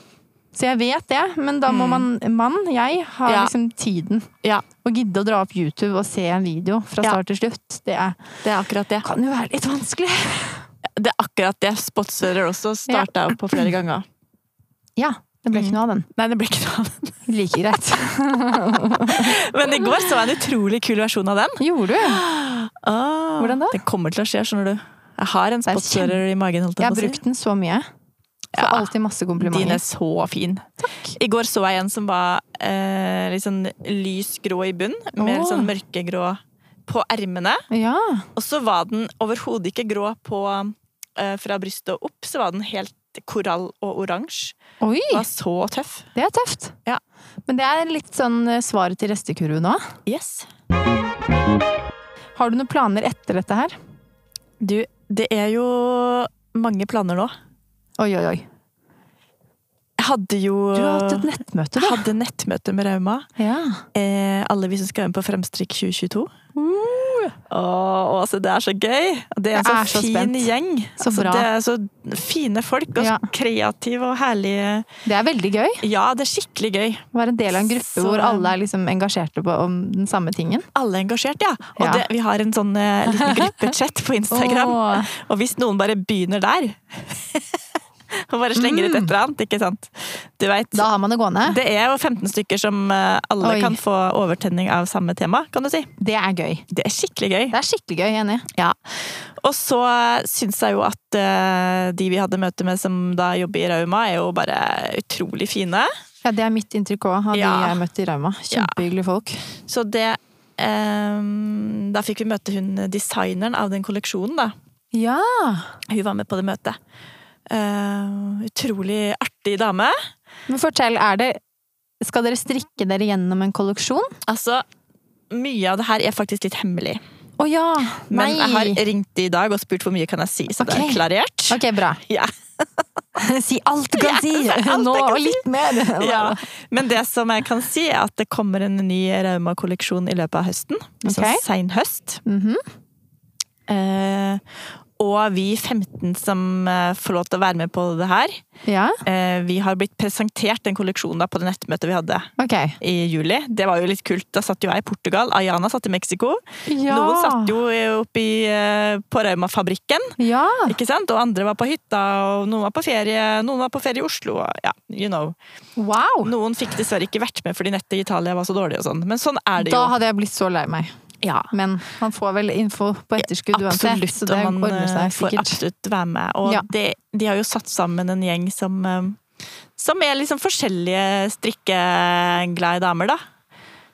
Speaker 2: Så jeg vet det, men da må man, mann, jeg, ha
Speaker 1: Ja.
Speaker 2: liksom tiden.
Speaker 1: Ja,
Speaker 2: Å gidde å dra opp YouTube og se en video fra
Speaker 1: Ja.
Speaker 2: start til slutt, det er,
Speaker 1: det er akkurat det.
Speaker 2: kan jo være litt vanskelig.
Speaker 1: Det er akkurat det. Spotsører også starta jeg på flere ganger.
Speaker 2: Ja, det ble ikke noe av den.
Speaker 1: Mm. Nei, det ble ikke noe av den.
Speaker 2: Like greit.
Speaker 1: Men i går så jeg en utrolig kul versjon av den.
Speaker 2: Gjorde du? Hvordan da?
Speaker 1: Den kommer til å skje, skjønner du. Jeg har en
Speaker 2: er
Speaker 1: spotsører i magen, holdt
Speaker 2: Jeg
Speaker 1: jeg
Speaker 2: har
Speaker 1: på å si.
Speaker 2: brukt den så mye. Får
Speaker 1: Ja.
Speaker 2: alltid masse
Speaker 1: Din
Speaker 2: komplimenter.
Speaker 1: er så fin. I går så jeg en som var eh, litt sånn lys grå i bunn, med litt sånn mørkegrå på ermene.
Speaker 2: Ja.
Speaker 1: Og så var den overhodet ikke grå på eh, fra brystet og opp, så var den helt korall og oransje.
Speaker 2: Oi,
Speaker 1: Var så tøff.
Speaker 2: det er tøft.
Speaker 1: Ja.
Speaker 2: Men det er litt sånn eh, svaret til restekurven nå.
Speaker 1: Yes.
Speaker 2: Har du noen planer etter dette her?
Speaker 1: Du, det er jo mange planer nå.
Speaker 2: Oi, oi, oi.
Speaker 1: Jeg hadde jo
Speaker 2: Du har hatt et nettmøte,
Speaker 1: jeg
Speaker 2: da.
Speaker 1: hadde nettmøte med Rauma.
Speaker 2: Ja.
Speaker 1: Eh, alle vi som skal være med på Fremstrikk 2022. Åh, altså, det er så gøy! Det er en
Speaker 2: Jeg
Speaker 1: så,
Speaker 2: er så
Speaker 1: fin
Speaker 2: spent.
Speaker 1: gjeng.
Speaker 2: Så
Speaker 1: altså,
Speaker 2: bra.
Speaker 1: Det er så fine folk, og
Speaker 2: Ja.
Speaker 1: så kreative og herlige.
Speaker 2: Det er veldig gøy.
Speaker 1: Ja, det er skikkelig gøy.
Speaker 2: Å være en del av en gruppe
Speaker 1: Så-
Speaker 2: hvor alle er liksom engasjerte på om den samme tingen.
Speaker 1: alle er engasjert, ja. Og
Speaker 2: Ja.
Speaker 1: Det, vi har en sånn eh, liten gruppechat på Instagram.
Speaker 2: Åh.
Speaker 1: Og hvis noen bare begynner der, og bare slenger ut et eller annet, ikke sant. Du veit.
Speaker 2: Mm. Da har man det gående.
Speaker 1: Det er jo 15 stykker som eh, alle
Speaker 2: Oi.
Speaker 1: kan få overtenning av samme tema, kan du si.
Speaker 2: Det er gøy.
Speaker 1: Det er skikkelig gøy.
Speaker 2: Det er skikkelig gøy, enig.
Speaker 1: Ja. Og så syns jeg jo at eh, de vi hadde møte med som da jobber i Rauma, er jo bare utrolig fine.
Speaker 2: Ja, det er mitt inntrykk òg, av de
Speaker 1: Ja.
Speaker 2: jeg møtte i Rauma. Kjempehyggelige folk.
Speaker 1: Så det eh, Da fikk vi møte hun designeren av den kolleksjonen, da.
Speaker 2: Ja!
Speaker 1: Hun var med på det møtet. Eh, utrolig artig dame.
Speaker 2: Men fortell, er det Skal dere strikke dere gjennom en kolleksjon?
Speaker 1: Altså, mye av det her er faktisk litt hemmelig.
Speaker 2: Å ja! Nei!
Speaker 1: Men jeg har ringt i dag og spurt hvor mye kan jeg si, så det
Speaker 2: Ok.
Speaker 1: er klarert.
Speaker 2: Ok, bra.
Speaker 1: Ja.
Speaker 2: si alt du kan si!
Speaker 1: alt jeg
Speaker 2: Nå,
Speaker 1: kan
Speaker 2: og
Speaker 1: si.
Speaker 2: litt mer!
Speaker 1: Ja. Men det som jeg kan si, er at det kommer en ny Rauma-kolleksjon i løpet av høsten. Altså
Speaker 2: Ok.
Speaker 1: seinhøst.
Speaker 2: Mhm.
Speaker 1: Eh, og vi 15 som eh, får lov til å være med på det her,
Speaker 2: ja.
Speaker 1: eh, vi har blitt presentert den kolleksjonen da på det nettmøtet vi hadde
Speaker 2: Ok.
Speaker 1: i juli. Det var jo litt kult. Da satt jo jeg i Portugal, Ayana satt i Mexico.
Speaker 2: Ja.
Speaker 1: Noen satt jo oppi eh, på Rauma-fabrikken,
Speaker 2: Ja!
Speaker 1: ikke sant? Og andre var på hytta, og noen var på ferie, noen var på ferie i Oslo, og ja, you know.
Speaker 2: Wow!
Speaker 1: Noen fikk dessverre ikke vært med fordi nettet i Italia var så dårlig og sånn, men sånn er det
Speaker 2: Da
Speaker 1: jo.
Speaker 2: hadde jeg blitt så lei meg.
Speaker 1: Ja.
Speaker 2: Men man får vel info på etterskudd uansett,
Speaker 1: Absolutt,
Speaker 2: så det
Speaker 1: og man
Speaker 2: ordner
Speaker 1: eh,
Speaker 2: seg
Speaker 1: får
Speaker 2: sikkert.
Speaker 1: absolutt være med. Og
Speaker 2: Ja.
Speaker 1: de, de har jo satt sammen en gjeng som, eh, som er liksom forskjellige strikkeglade damer, da.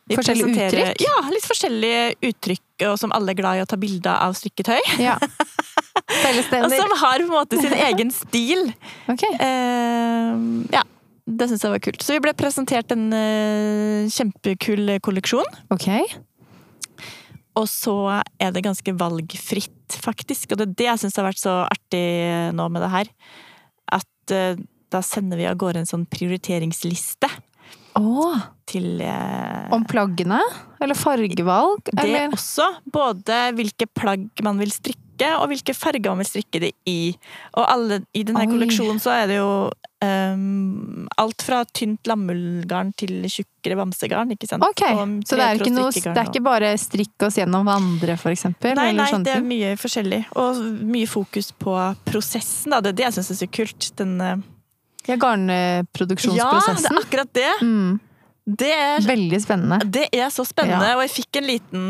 Speaker 1: De
Speaker 2: Forskjellige
Speaker 1: presenterer-
Speaker 2: uttrykk?
Speaker 1: Ja, litt forskjellige uttrykk, og som alle er glad i å ta bilde av strikketøy.
Speaker 2: Ja.
Speaker 1: Og
Speaker 2: Fellesstevner.
Speaker 1: som har på en måte sin egen stil.
Speaker 2: Ok.
Speaker 1: Eh, ja, det syns jeg var kult. Så vi ble presentert en eh, kjempekul kolleksjon.
Speaker 2: ok.
Speaker 1: Og så er det ganske valgfritt, faktisk. Og det er det jeg syns har vært så artig nå med det her. At eh, da sender vi av gårde en sånn prioriteringsliste
Speaker 2: Åh,
Speaker 1: til eh,
Speaker 2: om plaggene? Eller fargevalg?
Speaker 1: det
Speaker 2: Eller?
Speaker 1: også. Både hvilke plagg man vil strikke, og hvilke farger man vil strikke det i. Og alle, i denne
Speaker 2: Oi.
Speaker 1: kolleksjonen så er det jo eh, alt fra tynt lammullgarn til tjukkere bamsegarn, ikke sant.
Speaker 2: Ok,
Speaker 1: Og
Speaker 2: så det er, ikke
Speaker 1: tretråd
Speaker 2: noe,
Speaker 1: strikkegarn
Speaker 2: det er
Speaker 1: og-
Speaker 2: ikke bare strikk oss gjennom vandre, for eksempel?
Speaker 1: Nei,
Speaker 2: eller
Speaker 1: nei,
Speaker 2: sånne
Speaker 1: det er
Speaker 2: ting?
Speaker 1: mye forskjellig. Og mye fokus på prosessen. Da. Det er det jeg syns er så kult. Den, eh,
Speaker 2: Ja,
Speaker 1: ja, det
Speaker 2: garnproduksjonsprosessen.
Speaker 1: er akkurat det!
Speaker 2: Mm,
Speaker 1: Det er,
Speaker 2: veldig spennende.
Speaker 1: det er så spennende.
Speaker 2: Ja.
Speaker 1: Og jeg fikk en liten,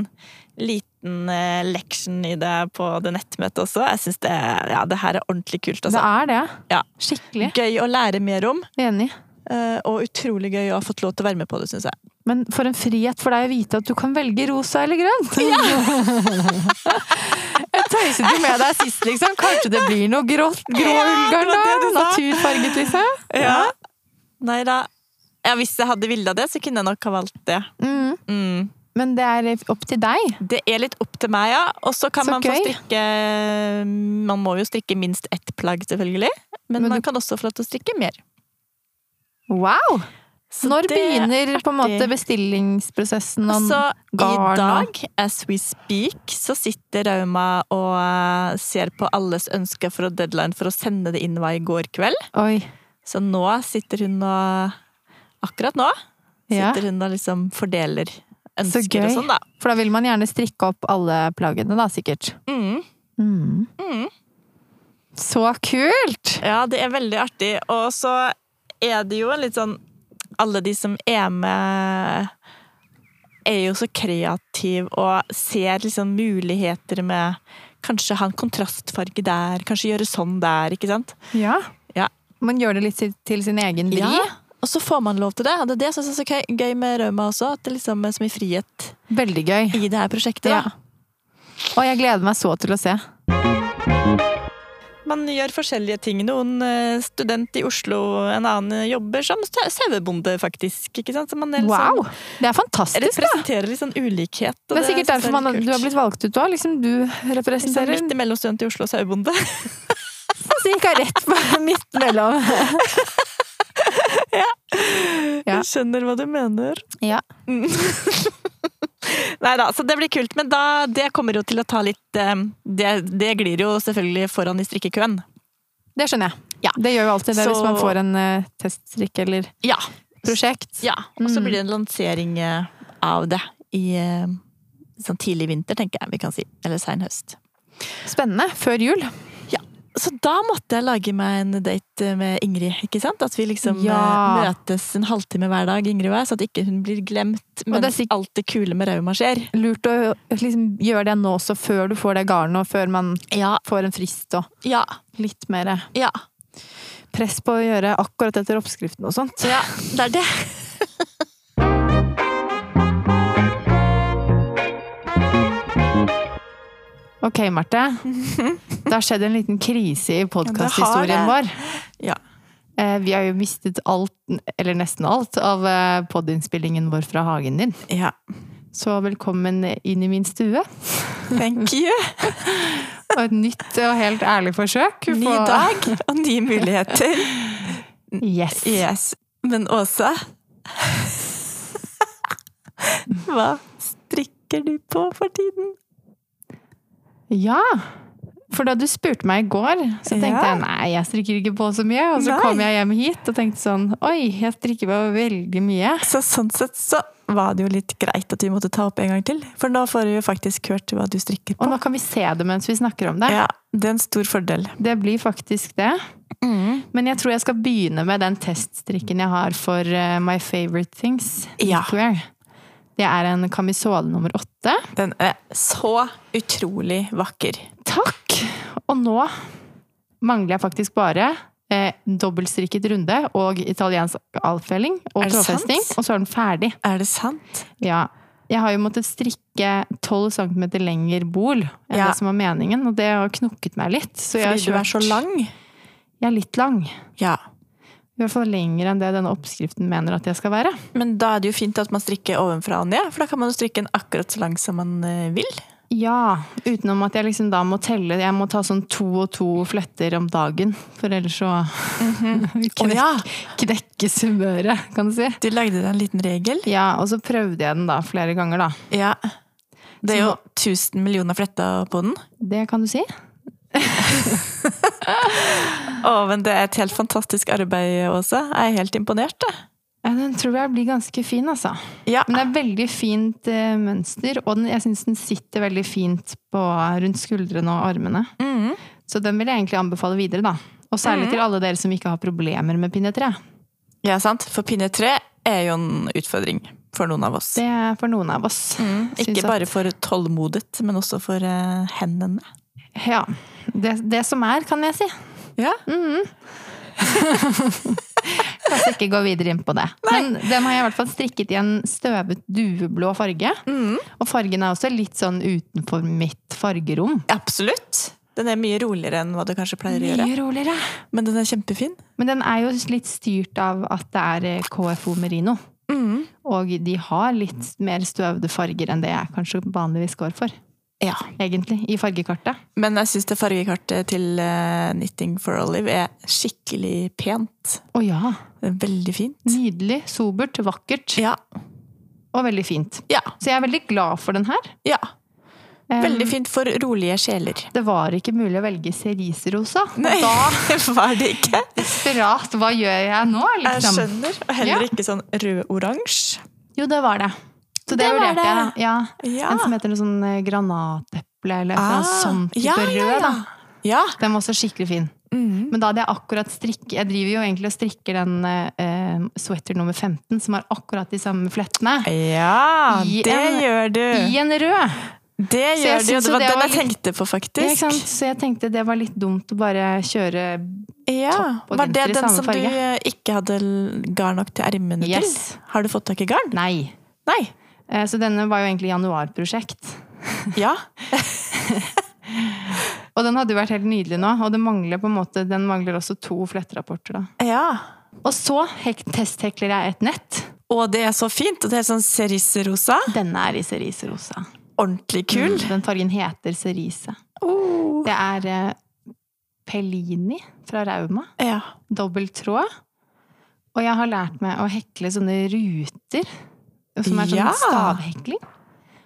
Speaker 1: liten eh, leksjon i det på det nettmøtet også. Jeg syns det, er- ja, det her er ordentlig kult.
Speaker 2: Det
Speaker 1: Altså.
Speaker 2: er det.
Speaker 1: Ja.
Speaker 2: Skikkelig.
Speaker 1: Gøy å lære mer om,
Speaker 2: Enig.
Speaker 1: eh, og utrolig gøy å ha fått lov til å være med på det, syns jeg.
Speaker 2: Men for en frihet for deg å vite at du kan velge rosa eller grønt! jeg tøyset jo med deg sist, liksom. Kanskje det blir noe grått, grå
Speaker 1: Ja, det
Speaker 2: ullgarn,
Speaker 1: var det
Speaker 2: da?
Speaker 1: du sa.
Speaker 2: Naturfarget, liksom.
Speaker 1: Ja. Nei da. Ja, hvis jeg hadde villet det, så kunne jeg nok ha valgt det.
Speaker 2: Mm.
Speaker 1: Mm.
Speaker 2: Men det er opp til deg.
Speaker 1: Det er litt opp til meg, ja. Og så kan
Speaker 2: Så
Speaker 1: man få
Speaker 2: gøy.
Speaker 1: strikke Man må jo strikke minst ett plagg, selvfølgelig. Men,
Speaker 2: Men
Speaker 1: man kan også få lov til å strikke mer.
Speaker 2: Wow!
Speaker 1: Så
Speaker 2: Når
Speaker 1: det-
Speaker 2: begynner på en måte
Speaker 1: artig. Altså,
Speaker 2: bestillingsprosessen? om-
Speaker 1: Så i
Speaker 2: garn og-
Speaker 1: dag, as we speak, så sitter Rauma og eh, ser på alles ønsker for å deadline for å sende det inn var i går kveld.
Speaker 2: Oi.
Speaker 1: Så nå sitter hun og Akkurat nå
Speaker 2: Ja.
Speaker 1: sitter hun og liksom fordeler
Speaker 2: Så
Speaker 1: ønsker og
Speaker 2: gøy.
Speaker 1: sånn, da.
Speaker 2: For da vil man gjerne strikke opp alle plaggene, da, sikkert.
Speaker 1: Mm. Mm.
Speaker 2: Så kult!
Speaker 1: Ja, det er veldig artig. Og så er det jo en litt sånn Alle de som er med, er jo så kreative og ser liksom muligheter med Kanskje ha en kontrastfarge der, kanskje gjøre sånn der, ikke sant?
Speaker 2: Ja.
Speaker 1: Ja.
Speaker 2: Man gjør det litt til- til sin egen vri.
Speaker 1: Og så får man lov til det. Og det er det som er så gøy- gøy med Rauma også, at det liksom er så mye frihet
Speaker 2: Veldig gøy.
Speaker 1: i det her prosjektet.
Speaker 2: Ja.
Speaker 1: Da.
Speaker 2: Og jeg gleder meg så til å se.
Speaker 1: Man gjør forskjellige ting. Noen eh, student i Oslo, en annen jobber som sau- sauebonde, faktisk. ikke sant? Så man er litt sånn-
Speaker 2: Wow! Det er fantastisk, da!
Speaker 1: representerer litt sånn ulikhet. og
Speaker 2: Det er sikkert
Speaker 1: synes
Speaker 2: derfor man,
Speaker 1: litt
Speaker 2: du har
Speaker 1: kult.
Speaker 2: blitt valgt ut òg. Liksom du
Speaker 1: Liksom
Speaker 2: representerer
Speaker 1: Midt imellom student i Oslo og sauebonde.
Speaker 2: Så gikk jeg rett på- midt mellom. Ja.
Speaker 1: Jeg skjønner hva du mener.
Speaker 2: Ja.
Speaker 1: Nei da, så det blir kult. Men da, det kommer jo til å ta litt eh, Det, det glir jo selvfølgelig foran i strikkekøen.
Speaker 2: Det skjønner jeg.
Speaker 1: Ja.
Speaker 2: Det gjør jo alltid det
Speaker 1: Så-
Speaker 2: hvis man får en eh, teststrikk eller
Speaker 1: Ja.
Speaker 2: prosjekt.
Speaker 1: ja. Og så
Speaker 2: Mm.
Speaker 1: blir det en lansering eh, av det i eh, sånn tidlig vinter, tenker jeg vi kan si. Eller sein høst.
Speaker 2: Spennende. Før jul.
Speaker 1: Så da måtte jeg lage meg en date med Ingrid. ikke sant? At vi liksom
Speaker 2: Ja.
Speaker 1: eh, møtes en halvtime hver dag, Ingrid og jeg, så at ikke hun blir glemt
Speaker 2: det er
Speaker 1: mens
Speaker 2: sikk-
Speaker 1: alt det kule med Rauma skjer.
Speaker 2: Lurt å liksom, gjøre det nå også, før du får det garnet, og før man
Speaker 1: Ja,
Speaker 2: får en frist og
Speaker 1: ja,
Speaker 2: litt mer eh,
Speaker 1: ja.
Speaker 2: press på å gjøre akkurat etter oppskriften og sånn. sånt.
Speaker 1: ja det er det.
Speaker 2: Ok, Marte. Det har skjedd en liten krise i
Speaker 1: Ja,
Speaker 2: podkasthistorien
Speaker 1: det har
Speaker 2: vår.
Speaker 1: det. Ja.
Speaker 2: Eh, Vi har jo mistet alt, eller nesten alt, av podinnspillingen vår fra hagen din.
Speaker 1: ja.
Speaker 2: Så velkommen inn i min stue.
Speaker 1: Thank you.
Speaker 2: Og et nytt og helt ærlig forsøk.
Speaker 1: Ny
Speaker 2: på-
Speaker 1: dag og nye muligheter.
Speaker 2: Yes.
Speaker 1: Yes. Men Åsa Hva strikker du på for tiden?
Speaker 2: Ja! For da du spurte meg i går, så tenkte
Speaker 1: Ja.
Speaker 2: jeg nei, jeg strikker ikke på så mye. Og så
Speaker 1: Nei.
Speaker 2: kom jeg hjem hit og tenkte sånn oi, jeg strikker på veldig mye.
Speaker 1: Så sånn sett så var det jo litt greit at vi måtte ta opp en gang til. For nå får vi jo faktisk hørt hva du strikker
Speaker 2: Og
Speaker 1: på.
Speaker 2: nå kan vi se det mens vi snakker om det.
Speaker 1: Ja, det er en stor fordel.
Speaker 2: Det blir faktisk det.
Speaker 1: Mm.
Speaker 2: Men jeg tror jeg skal begynne med den teststrikken jeg har for eh, My Favorite Things.
Speaker 1: Ja.
Speaker 2: knitwear. Jeg er en kamisole nummer åtte.
Speaker 1: Den er så utrolig vakker.
Speaker 2: Takk! Og nå mangler jeg faktisk bare eh, dobbeltstrikket runde og italiensk avfelling og
Speaker 1: Er det sant?
Speaker 2: trådfesting, og så er den ferdig.
Speaker 1: Er det sant?
Speaker 2: Ja. Jeg har jo måttet strikke 12 cm lenger bol enn
Speaker 1: Ja.
Speaker 2: det som var meningen, og det har knokket meg litt. Så jeg har
Speaker 1: Fordi du er så
Speaker 2: kjørt-
Speaker 1: lang?
Speaker 2: Jeg er litt lang.
Speaker 1: Ja.
Speaker 2: I hvert fall lenger enn det denne oppskriften mener at jeg skal være.
Speaker 1: Men da er det jo fint at man strikker ovenfra og ned, for da kan man jo strikke den akkurat så lang som man eh, vil.
Speaker 2: Ja, utenom at jeg liksom da må telle. Jeg må ta sånn to og to fletter om dagen, for ellers så knekk,
Speaker 1: ja.
Speaker 2: knekkes humøret, kan du si.
Speaker 1: Du lagde deg en liten regel.
Speaker 2: Ja, og så prøvde jeg den da flere ganger, da.
Speaker 1: Ja. Det er
Speaker 2: Så
Speaker 1: jo 1000 millioner fletta på den.
Speaker 2: Det kan du si.
Speaker 1: Å, men det er et helt fantastisk arbeid, Åse. Jeg er helt imponert, jeg.
Speaker 2: Ja, den tror jeg blir ganske fin, altså.
Speaker 1: Ja.
Speaker 2: Men det er veldig fint eh, mønster, og den, jeg syns den sitter veldig fint på, rundt skuldrene og armene.
Speaker 1: Mhm.
Speaker 2: Så den vil jeg egentlig anbefale videre, da. Og særlig til alle dere som ikke har problemer med pinnetre.
Speaker 1: ja, sant. For pinne tre er jo en utfordring for noen av oss.
Speaker 2: Det er for noen av oss.
Speaker 1: Mm,
Speaker 2: Syns
Speaker 1: ikke
Speaker 2: at-
Speaker 1: bare for tålmodet, men også for eh, hendene.
Speaker 2: Ja. Det, det som er, kan jeg si.
Speaker 1: Ja.
Speaker 2: Jeg skal ikke gå videre inn på det. Men den har jeg i hvert fall strikket i en støvet dueblå farge.
Speaker 1: Mm.
Speaker 2: Og fargen er også litt sånn utenfor mitt fargerom.
Speaker 1: Absolutt. Den er mye roligere enn hva du kanskje pleier å gjøre.
Speaker 2: Mye roligere.
Speaker 1: Men den er kjempefin.
Speaker 2: Men den er jo litt styrt av at det er eh, KFO Merino.
Speaker 1: Mm.
Speaker 2: Og de har litt mer støvede farger enn det jeg kanskje vanligvis går for.
Speaker 1: Ja.
Speaker 2: Egentlig. I fargekartet.
Speaker 1: Men jeg syns det fargekartet til eh, Knitting for Olive er skikkelig pent.
Speaker 2: Å ja.
Speaker 1: Det er veldig fint.
Speaker 2: Nydelig, sobert, vakkert
Speaker 1: Ja.
Speaker 2: og veldig fint.
Speaker 1: Ja.
Speaker 2: Så jeg er veldig glad for den her.
Speaker 1: ja.
Speaker 2: Eh,
Speaker 1: Veldig fint for rolige sjeler.
Speaker 2: Det var ikke mulig å velge ceriserosa.
Speaker 1: Nei,
Speaker 2: Da
Speaker 1: var det ikke.
Speaker 2: desperat, hva gjør jeg nå?
Speaker 1: Jeg
Speaker 2: Liksom?
Speaker 1: skjønner. Og
Speaker 2: Ja.
Speaker 1: heller ikke sånn rød-oransje.
Speaker 2: Jo, det var det. Så det,
Speaker 1: Det var
Speaker 2: vurderte jeg.
Speaker 1: det.
Speaker 2: Ja.
Speaker 1: Ja. Ah.
Speaker 2: En som heter noe sånn eh, granateple eller et eller annet sånt type
Speaker 1: ja, ja,
Speaker 2: rød.
Speaker 1: ja.
Speaker 2: Da.
Speaker 1: Ja.
Speaker 2: Den var også skikkelig fin.
Speaker 1: Mm.
Speaker 2: Men da hadde jeg akkurat strikk Jeg driver jo egentlig og strikker den eh, eh, sweater nummer 15 som har akkurat de samme flettene.
Speaker 1: ja
Speaker 2: I
Speaker 1: det
Speaker 2: en-
Speaker 1: gjør du.
Speaker 2: I en rød!
Speaker 1: Det
Speaker 2: Så jeg
Speaker 1: gjør det, og
Speaker 2: syns
Speaker 1: det
Speaker 2: jo
Speaker 1: var
Speaker 2: det
Speaker 1: den
Speaker 2: var
Speaker 1: jeg
Speaker 2: litt-
Speaker 1: tenkte på,
Speaker 2: Ikke
Speaker 1: faktisk.
Speaker 2: sant? Så jeg tenkte det var litt dumt å bare kjøre
Speaker 1: Ja,
Speaker 2: Topp og
Speaker 1: Var det
Speaker 2: genser i
Speaker 1: den
Speaker 2: samme
Speaker 1: som du
Speaker 2: farge.
Speaker 1: eh, ikke hadde l- garn nok til ermene
Speaker 2: Yes.
Speaker 1: til? Har du fått tak i garn?
Speaker 2: Nei.
Speaker 1: Nei.
Speaker 2: Eh, Så denne var jo egentlig januarprosjekt.
Speaker 1: Ja.
Speaker 2: Og den hadde jo vært helt nydelig nå, og det mangler på en måte, den mangler også to fletterapporter. da.
Speaker 1: ja.
Speaker 2: Og så hek testhekler jeg et nett.
Speaker 1: Og det er så fint, og det er sånn cerisserosa.
Speaker 2: Denne er i cerise rosa.
Speaker 1: Ordentlig kul.
Speaker 2: Mm, Den fargen heter cerise.
Speaker 1: Oh.
Speaker 2: Det er eh, Pellini fra Rauma.
Speaker 1: Ja.
Speaker 2: Dobbel tråd. Og jeg har lært meg å hekle sånne ruter, som er sånn
Speaker 1: Ja.
Speaker 2: stavhekling.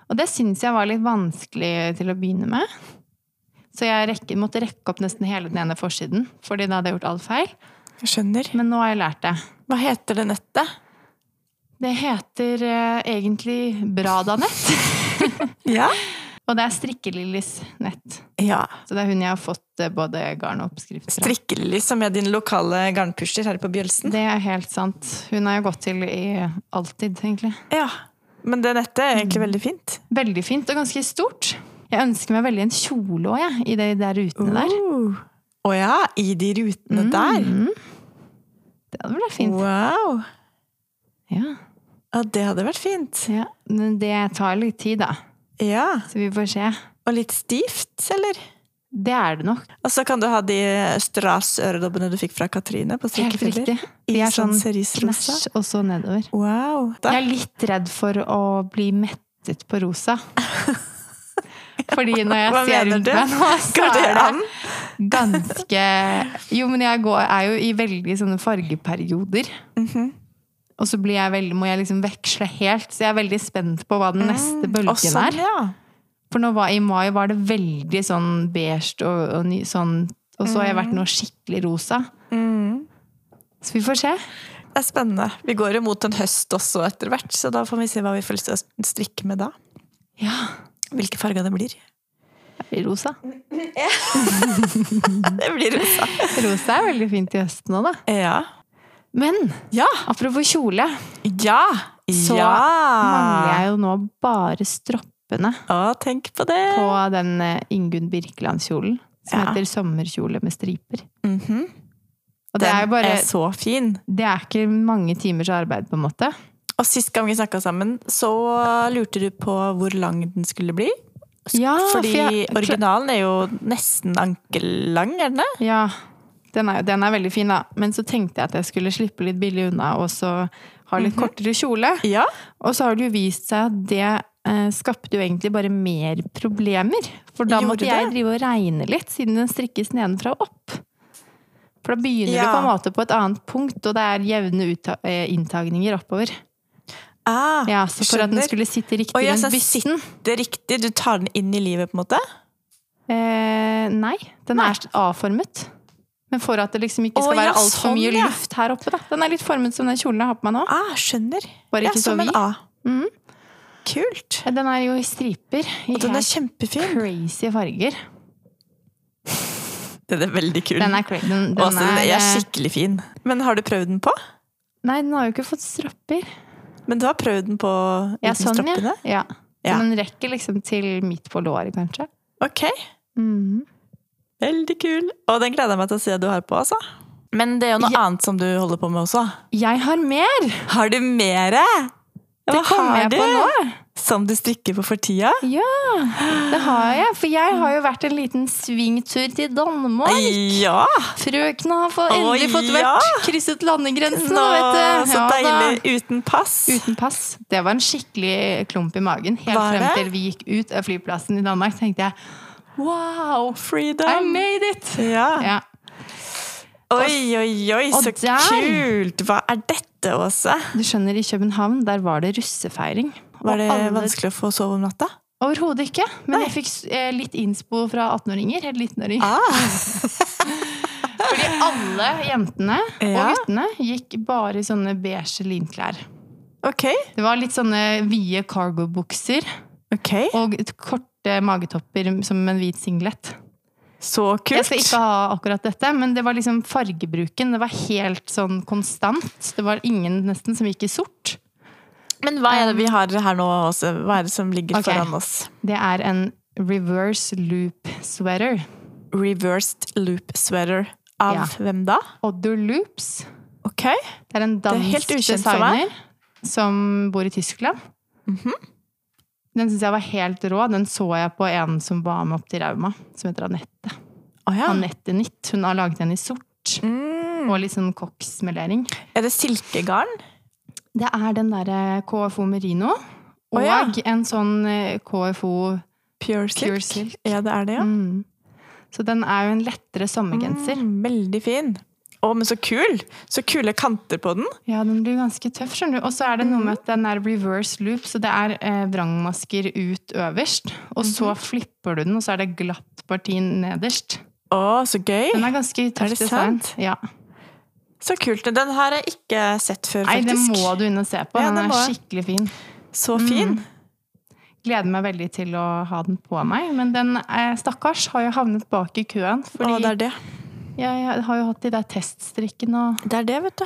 Speaker 2: Og det syns jeg var litt vanskelig til å begynne med. Så jeg rekke, måtte rekke opp nesten hele den ene forsiden, fordi da hadde jeg gjort alt feil.
Speaker 1: Jeg skjønner.
Speaker 2: Men nå har jeg lært det.
Speaker 1: Hva heter det nettet?
Speaker 2: Det heter eh, egentlig Bradanett.
Speaker 1: Ja.
Speaker 2: og det er Strikkelillis nett.
Speaker 1: ja.
Speaker 2: Så det er hun jeg har fått eh, både garn og oppskrifter av.
Speaker 1: Strikkelilly, som er din lokale garnpusher her på Bjølsen.
Speaker 2: Det er helt sant. Hun har jeg gått til i alltid, egentlig.
Speaker 1: Ja. Men det nettet er egentlig veldig fint.
Speaker 2: Veldig fint og ganske stort. Jeg ønsker meg veldig en kjole òg, jeg, i de der rutene der.
Speaker 1: Oh. Å ja, i de rutene der.
Speaker 2: Det hadde vært fint.
Speaker 1: Wow.
Speaker 2: Ja.
Speaker 1: Ja, det hadde vært fint.
Speaker 2: ja. Men det tar litt tid, da.
Speaker 1: Ja.
Speaker 2: Så vi får se.
Speaker 1: Og litt stivt, eller?
Speaker 2: Det er det nok.
Speaker 1: Og så kan du ha de Strass-øredobbene du fikk fra Katrine på
Speaker 2: Helt
Speaker 1: strikkefiller.
Speaker 2: riktig. De
Speaker 1: I
Speaker 2: er sånn
Speaker 1: sånn cerise-rosa.
Speaker 2: knæsj og så nedover.
Speaker 1: Wow. Da.
Speaker 2: Jeg er litt redd for å bli mettet på rosa. Fordi når jeg
Speaker 1: Hva
Speaker 2: ser
Speaker 1: mener
Speaker 2: rundt
Speaker 1: du?
Speaker 2: meg nå, så
Speaker 1: Går det
Speaker 2: er
Speaker 1: an?
Speaker 2: det ganske Jo, men jeg går, er jo i veldig sånne fargeperioder.
Speaker 1: Mhm.
Speaker 2: Og så blir jeg veldig, må jeg liksom veksle helt, så jeg er veldig spent på hva den
Speaker 1: Mm,
Speaker 2: neste
Speaker 1: Og
Speaker 2: bølgen
Speaker 1: sånn,
Speaker 2: er.
Speaker 1: ja.
Speaker 2: For nå var, i mai var det veldig sånn beige og, og ny, sånn Og så har jeg
Speaker 1: Mm.
Speaker 2: vært noe skikkelig rosa. Så vi får se.
Speaker 1: Det er spennende. Vi går jo mot en høst også etter hvert, så da får vi se hva vi får lyst til å strikke med da.
Speaker 2: Ja.
Speaker 1: Hvilke farger det blir.
Speaker 2: Det blir rosa.
Speaker 1: Det blir rosa.
Speaker 2: Rosa er veldig fint i høsten òg, da.
Speaker 1: Ja.
Speaker 2: Men
Speaker 1: Ja.
Speaker 2: Apropos kjole.
Speaker 1: Ja.
Speaker 2: Så
Speaker 1: Ah.
Speaker 2: mangler jeg jo nå bare stroppene
Speaker 1: Å, tenk på det!
Speaker 2: på den eh, Ingunn Birkeland-kjolen. Som
Speaker 1: Ja.
Speaker 2: heter sommerkjole med striper.
Speaker 1: Mhm.
Speaker 2: Og det er jo bare
Speaker 1: Den er så fin.
Speaker 2: Det er ikke mange timers arbeid, på en måte.
Speaker 1: Og sist gang vi snakka sammen, så lurte du på hvor lang den skulle bli.
Speaker 2: Ja, for
Speaker 1: Fordi
Speaker 2: jeg-
Speaker 1: originalen er jo nesten ankellang, er den det?
Speaker 2: Ja, den er, den er veldig fin, da. Men så tenkte jeg at jeg skulle slippe litt billig unna og så ha litt
Speaker 1: Mhm.
Speaker 2: kortere kjole.
Speaker 1: Ja.
Speaker 2: Og så har det jo vist seg at det eh, skapte jo egentlig bare mer problemer. For da
Speaker 1: Gjorde
Speaker 2: måtte jeg
Speaker 1: det?
Speaker 2: drive og regne litt, siden den strikkes nedenfra og opp. For da begynner du
Speaker 1: Ja.
Speaker 2: på en måte på et annet punkt, og det er jevne uta- eh, inntagninger oppover.
Speaker 1: Ah,
Speaker 2: Ja, så for at den
Speaker 1: skjønner.
Speaker 2: skulle sitte riktig
Speaker 1: Oi, altså,
Speaker 2: rundt bysten
Speaker 1: Det er riktig, du tar den inn i livet, på en måte?
Speaker 2: eh, Nei, den
Speaker 1: Nei.
Speaker 2: er A-formet. Men for at det liksom ikke
Speaker 1: Å,
Speaker 2: skal være
Speaker 1: ja,
Speaker 2: altfor
Speaker 1: sånn,
Speaker 2: mye
Speaker 1: ja.
Speaker 2: luft her oppe, da. Den er litt formet som den kjolen jeg har på meg nå.
Speaker 1: Ah, skjønner.
Speaker 2: Bare
Speaker 1: Ja,
Speaker 2: ikke så
Speaker 1: som en
Speaker 2: vid.
Speaker 1: A.
Speaker 2: Mhm.
Speaker 1: Kult.
Speaker 2: Den er jo i striper. I
Speaker 1: Og den er
Speaker 2: helt
Speaker 1: kjempefin.
Speaker 2: crazy farger.
Speaker 1: Den er veldig kul.
Speaker 2: Den er crazy. Den,
Speaker 1: Og
Speaker 2: den
Speaker 1: så den
Speaker 2: er,
Speaker 1: er
Speaker 2: eh,
Speaker 1: skikkelig fin. Men har du prøvd den på?
Speaker 2: Nei, den har jo ikke fått stropper.
Speaker 1: Men du har prøvd den på uten
Speaker 2: Ja, sånn,
Speaker 1: stroppene?
Speaker 2: ja. ja.
Speaker 1: Ja.
Speaker 2: Så den rekker liksom til midt på låret, kanskje.
Speaker 1: Ok, Mhm. veldig kul. Og den gleder jeg meg til å se at du har på, altså. Men det er jo noe annet som du holder på med også.
Speaker 2: Jeg har mer!
Speaker 1: Har du mere?
Speaker 2: Det
Speaker 1: Hva
Speaker 2: kommer
Speaker 1: har
Speaker 2: jeg på
Speaker 1: du?
Speaker 2: nå.
Speaker 1: Som du strikker på for tida?
Speaker 2: Ja, det har jeg. For jeg har jo vært en liten svingtur til Danmark.
Speaker 1: Ja!
Speaker 2: Frøkna har få- endelig
Speaker 1: Å,
Speaker 2: fått
Speaker 1: ja.
Speaker 2: vært krysset landegrensen,
Speaker 1: Nå,
Speaker 2: vet du.
Speaker 1: så
Speaker 2: Ja, da.
Speaker 1: deilig. Uten pass.
Speaker 2: Uten pass. Det var en skikkelig klump i magen. Helt
Speaker 1: Var
Speaker 2: frem
Speaker 1: det?
Speaker 2: til vi gikk ut av flyplassen i Danmark, tenkte jeg wow, I
Speaker 1: Freedom.
Speaker 2: made it!
Speaker 1: Ja.
Speaker 2: Ja.
Speaker 1: Oi, oi, oi,
Speaker 2: Og
Speaker 1: så
Speaker 2: der-
Speaker 1: kult! Hva er dette, Åse?
Speaker 2: Du skjønner, i København der var det russefeiring.
Speaker 1: Var det
Speaker 2: Og alle-
Speaker 1: vanskelig å få sove om natta?
Speaker 2: Overhodet ikke. Men jeg fikk s- eh, litt innspo fra 18-åringer. Helt 19-åringer.
Speaker 1: Ah.
Speaker 2: Fordi alle jentene
Speaker 1: Ja.
Speaker 2: og guttene gikk bare i sånne beige linklær.
Speaker 1: Ok.
Speaker 2: Det var litt sånne vide cargobukser
Speaker 1: ok.
Speaker 2: og et korte magetopper som en hvit singlet.
Speaker 1: Så
Speaker 2: Jeg skal
Speaker 1: kult.
Speaker 2: ikke ha akkurat dette, men det var liksom fargebruken. Det var helt sånn konstant. Det var ingen nesten som gikk i sort.
Speaker 1: Men hva er det vi har her nå, Åse? Hva er det som ligger
Speaker 2: Um, Ok.
Speaker 1: foran oss?
Speaker 2: Det er en reverse loop sweater.
Speaker 1: Reversed loop sweater. Av
Speaker 2: Ja.
Speaker 1: hvem da?
Speaker 2: Odder Loops.
Speaker 1: Ok.
Speaker 2: Det er en
Speaker 1: er
Speaker 2: dansk
Speaker 1: helt ukjent for Mhm. meg.
Speaker 2: designer som bor i Tyskland. Den syns jeg var helt rå. Den så jeg på en som var med opp til Rauma, som heter Anette.
Speaker 1: Å ja.
Speaker 2: Anette Nitt. Hun har laget den i sort.
Speaker 1: Mm.
Speaker 2: Og litt sånn koksmelering.
Speaker 1: Er det silkegarn?
Speaker 2: Det er den eh, derre KFO Merino. Og
Speaker 1: Å ja.
Speaker 2: en sånn eh, KFO
Speaker 1: Pure silk?
Speaker 2: Pure silk.
Speaker 1: Ja, det er det, ja.
Speaker 2: mm. Så den er jo en lettere sommergenser.
Speaker 1: Mm, veldig fin. Å, men så kul! Så kule kanter på den.
Speaker 2: Ja, den blir ganske tøff, skjønner du. Og så er det noe med at den er reverse loop, så det er eh, vrangmasker ut øverst. Og
Speaker 1: Mhm.
Speaker 2: så flipper du den, og så er det glatt parti nederst.
Speaker 1: Å, så gøy!
Speaker 2: Den er ganske tøff
Speaker 1: det
Speaker 2: design.
Speaker 1: sant?
Speaker 2: Ja.
Speaker 1: Så kult. Den har jeg ikke sett før,
Speaker 2: Nei, den
Speaker 1: faktisk.
Speaker 2: må Mm. du inn og se på.
Speaker 1: Ja,
Speaker 2: Den
Speaker 1: den
Speaker 2: er
Speaker 1: må jeg.
Speaker 2: skikkelig fin.
Speaker 1: Så fin.
Speaker 2: Gleder meg veldig til å ha den på meg. Men den eh, stakkars har jo havnet bak i køen. Fordi
Speaker 1: Å, det er det.
Speaker 2: jeg, jeg har jo hatt de der teststrikkene og
Speaker 1: Det er det, vet du.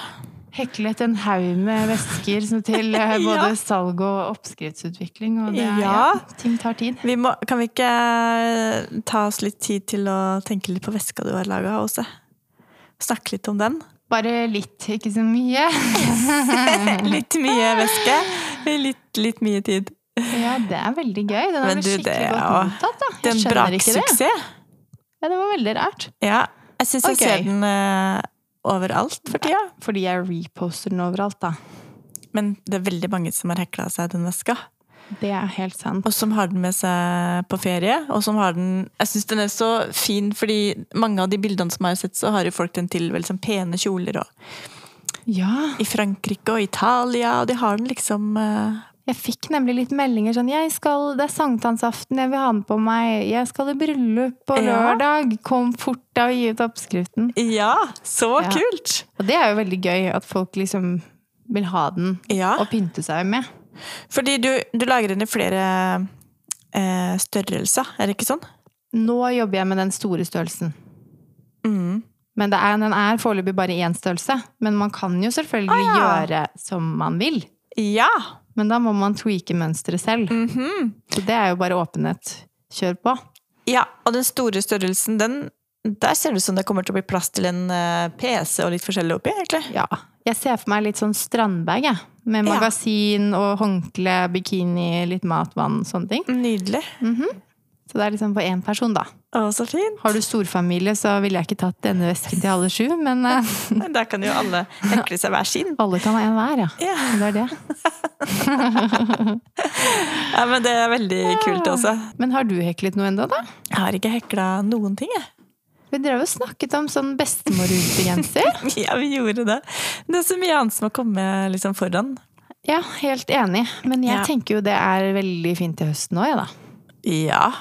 Speaker 2: heklet en haug med vesker som til eh, både salg og oppskriftsutvikling. Og det, er-
Speaker 1: Ja.
Speaker 2: ja, ting tar tid.
Speaker 1: Vi må, kan vi ikke eh, ta oss litt tid til å tenke litt på veska du har laga, Åse? Snakke litt om den.
Speaker 2: Bare litt, ikke så mye.
Speaker 1: Litt mye veske. Litt, litt mye tid.
Speaker 2: Ja, det er veldig gøy. Den er
Speaker 1: Men
Speaker 2: vel
Speaker 1: du,
Speaker 2: skikkelig
Speaker 1: det er
Speaker 2: godt
Speaker 1: jo-
Speaker 2: mottatt, da.
Speaker 1: Det
Speaker 2: Jeg
Speaker 1: er en
Speaker 2: skjønner ikke det.
Speaker 1: braksuksess.
Speaker 2: Ja, det var veldig rart.
Speaker 1: Ja. Jeg syns jeg
Speaker 2: Ok.
Speaker 1: ser den eh, overalt for tida.
Speaker 2: Fordi jeg reposter den overalt, da.
Speaker 1: Men det er veldig mange som har hekla seg den veska.
Speaker 2: Det er helt sant.
Speaker 1: Og som har den med seg på ferie. Og som har den Jeg syns den er så fin, fordi mange av de bildene som jeg har sett, så har jo folk den til veldig sånn pene kjoler og
Speaker 2: Ja.
Speaker 1: I Frankrike og Italia, og de har den liksom eh,
Speaker 2: Jeg fikk nemlig litt meldinger sånn jeg skal, 'Det er sankthansaften, jeg vil ha den på meg.' 'Jeg skal i bryllup på
Speaker 1: Ja.
Speaker 2: lørdag.' 'Kom fort deg og gi ut oppskriften.'
Speaker 1: Ja, så
Speaker 2: Ja.
Speaker 1: kult!
Speaker 2: Og det er jo veldig gøy at folk liksom vil ha den
Speaker 1: Ja.
Speaker 2: og pynte seg med.
Speaker 1: Fordi du, du lager den i flere eh, størrelser, er det ikke sånn?
Speaker 2: Nå jobber jeg med den store størrelsen.
Speaker 1: Mm.
Speaker 2: Men
Speaker 1: Ah,
Speaker 2: det er, den er foreløpig bare én størrelse. Men man kan jo selvfølgelig gjøre som man vil.
Speaker 1: Ja!
Speaker 2: Men da må man tweake mønsteret selv.
Speaker 1: Mhm.
Speaker 2: Så det er jo bare åpenhet. Kjør på.
Speaker 1: Ja, og den store størrelsen, den der ser det ut som det kommer til å bli plass til en eh, PC og litt forskjellig oppi, egentlig.
Speaker 2: Ja. Jeg ser for meg litt sånn strandbag, jeg. Med
Speaker 1: Ja.
Speaker 2: magasin og håndkle, bikini, litt mat, vann, sånne ting.
Speaker 1: Nydelig.
Speaker 2: Så det er liksom for én person, da.
Speaker 1: Å, så fint.
Speaker 2: Har du storfamilie, så ville jeg ikke tatt denne vesken til alle sju, men eh,
Speaker 1: Der kan jo alle hekle seg hver sin.
Speaker 2: alle kan ha en hver, ja.
Speaker 1: Ja.
Speaker 2: Det er det.
Speaker 1: ja, men det er veldig kult også.
Speaker 2: Men har du heklet noe ennå, da?
Speaker 1: Jeg har ikke hekla noen ting, jeg.
Speaker 2: Vi drev og snakket om sånn bestemorrutegenser.
Speaker 1: Ja, vi gjorde det. Det er så mye annet som har kommet liksom foran.
Speaker 2: ja, helt enig. Men jeg
Speaker 1: Ja.
Speaker 2: tenker jo det er veldig fint til høsten òg, jeg, da.
Speaker 1: Ja.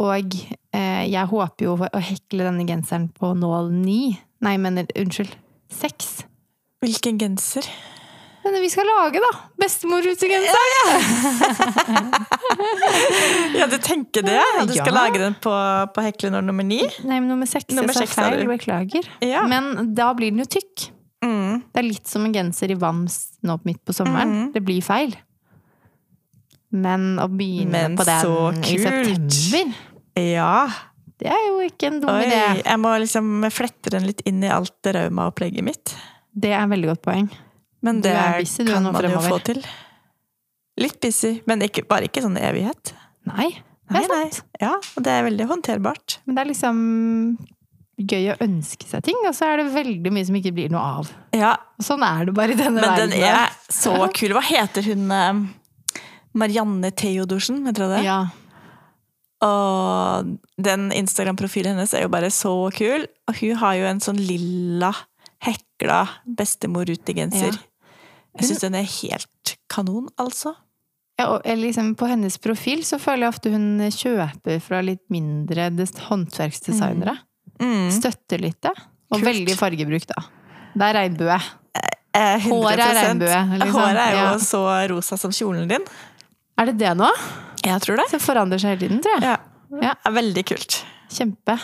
Speaker 2: Og eh, jeg håper jo å hekle denne genseren på nål ni. Nei, men unnskyld. Seks.
Speaker 1: Hvilken genser?
Speaker 2: Denne vi skal lage, da! Bestemorrutegenser!
Speaker 1: Ja, du tenker det? Ja, du skal
Speaker 2: Ja.
Speaker 1: lage den på, på heklenår nummer ni?
Speaker 2: Nei, men nummer seks.
Speaker 1: Nummer
Speaker 2: jeg sa
Speaker 1: seks, sa
Speaker 2: feil.
Speaker 1: du.
Speaker 2: Beklager.
Speaker 1: Ja.
Speaker 2: Men da blir den jo tykk.
Speaker 1: Mm.
Speaker 2: Det er litt som en genser i vams nå midt på sommeren. Det blir feil. Men å begynne
Speaker 1: Men
Speaker 2: på den
Speaker 1: så
Speaker 2: i
Speaker 1: kult.
Speaker 2: september,
Speaker 1: Ja.
Speaker 2: det er jo ikke en dum
Speaker 1: Oi.
Speaker 2: idé.
Speaker 1: Jeg må liksom flette den litt inn i alt det raumaopplegget mitt.
Speaker 2: Det er et veldig godt poeng.
Speaker 1: Men
Speaker 2: Du
Speaker 1: det
Speaker 2: er busy, du,
Speaker 1: kan
Speaker 2: nå
Speaker 1: man jo få
Speaker 2: fremover.
Speaker 1: til. Litt busy, men ikke, bare ikke sånn i evighet.
Speaker 2: Nei, det er sant.
Speaker 1: Ja, og det er veldig håndterbart.
Speaker 2: Men det er liksom gøy å ønske seg ting, og så er det veldig mye som ikke blir noe av.
Speaker 1: Ja,
Speaker 2: Og sånn er det bare i denne
Speaker 1: men
Speaker 2: verden.
Speaker 1: den er så kul. Hva heter hun eh, Marianne Theodorsen, heter hun det?
Speaker 2: ja.
Speaker 1: Og den Instagram-profilen hennes er jo bare så kul. Og hun har jo en sånn lilla, hekla bestemor-rutegenser. Jeg syns den er helt kanon, altså.
Speaker 2: Ja, og eller liksom på hennes profil så føler jeg ofte hun kjøper fra litt mindre des- håndverksdesignere. Mm. Støtter litt det. Og
Speaker 1: Mm. Kult.
Speaker 2: veldig fargebruk, da. Det er regnbue.
Speaker 1: Eh, 100%.
Speaker 2: Håret er regnbue, liksom.
Speaker 1: Håret er jo
Speaker 2: Ja.
Speaker 1: så rosa som kjolen din.
Speaker 2: Er det det nå?
Speaker 1: Jeg tror det.
Speaker 2: Det forandrer seg hele tiden, tror jeg.
Speaker 1: Ja.
Speaker 2: Ja.
Speaker 1: Det er veldig kult.
Speaker 2: Kjempe.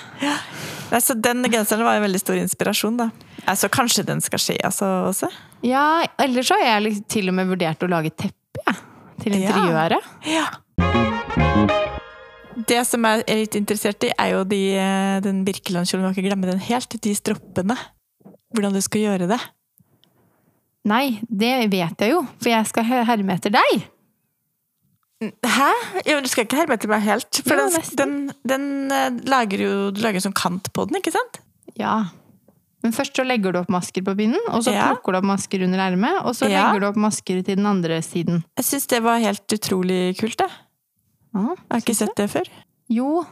Speaker 1: Nei, så den genseren var en veldig stor inspirasjon, da. Altså, kanskje den skal skje altså, også?
Speaker 2: Ja, ellers så har jeg liksom til og med vurdert å lage teppe, jeg. Til
Speaker 1: Ja.
Speaker 2: interiøret.
Speaker 1: Ja. Det som jeg er litt interessert i, er jo de, eh, den Birkeland-kjolen. Vi må ikke glemme den helt. De stroppene. Hvordan du skal gjøre det.
Speaker 2: Nei, det vet jeg jo, for jeg skal he- herme etter deg!
Speaker 1: Hæ? Jo, du skal ikke herme etter meg helt. For
Speaker 2: Jo,
Speaker 1: den,
Speaker 2: nesten.
Speaker 1: den, den eh, lager jo Du lager sånn kant på den, ikke sant?
Speaker 2: Ja. Men først så legger du opp masker på pinnen, og så
Speaker 1: Ja.
Speaker 2: plukker du opp masker under ermet, og så
Speaker 1: Ja.
Speaker 2: legger du opp masker til den andre siden.
Speaker 1: Jeg syns det var helt utrolig kult, jeg.
Speaker 2: Ja.
Speaker 1: Jeg har ikke sett det før.
Speaker 2: Jo,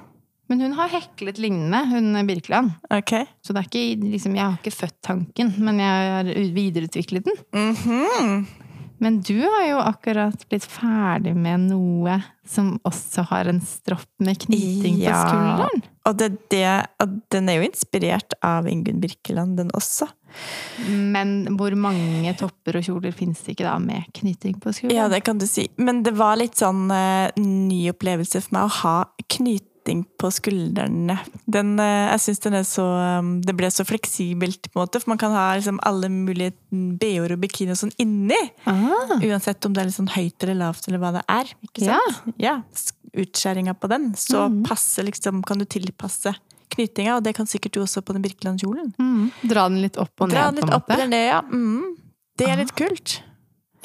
Speaker 2: men hun har heklet lignende, hun Birkeland.
Speaker 1: Ok.
Speaker 2: Så det er ikke, liksom, jeg har ikke født tanken, men jeg har videreutviklet den.
Speaker 1: Mhm.
Speaker 2: Men du har jo akkurat blitt ferdig med noe som også har en stropp med knyting på
Speaker 1: Ja.
Speaker 2: skulderen.
Speaker 1: Og, det, er det, og den er jo inspirert av Ingunn Birkeland, den også.
Speaker 2: Men hvor mange topper og kjoler finnes det ikke da med knyting på
Speaker 1: Ja,
Speaker 2: skulderen?
Speaker 1: det kan du si. Men det var litt sånn eh, ny opplevelse for meg å ha knyting på skuldrene. Den, eh, jeg syns den er så eh, Det ble så fleksibelt, på en måte, for man kan ha liksom, alle mulige BH-er og bikini og sånn inni.
Speaker 2: Ah,
Speaker 1: Uansett om det er litt sånn høyt eller lavt eller hva det er. Ikke
Speaker 2: Ja. Mhm.
Speaker 1: sant? Ja. s- Utskjæringa på den. Så passe, liksom, kan du tilpasse knytinga, og det kan sikkert du også på den Birkeland-kjolen.
Speaker 2: mm. Dra den litt opp og
Speaker 1: Dra
Speaker 2: ned,
Speaker 1: den
Speaker 2: på
Speaker 1: litt
Speaker 2: en
Speaker 1: opp
Speaker 2: måte. Ah.
Speaker 1: eller ned, ja. Mm. Det er litt kult.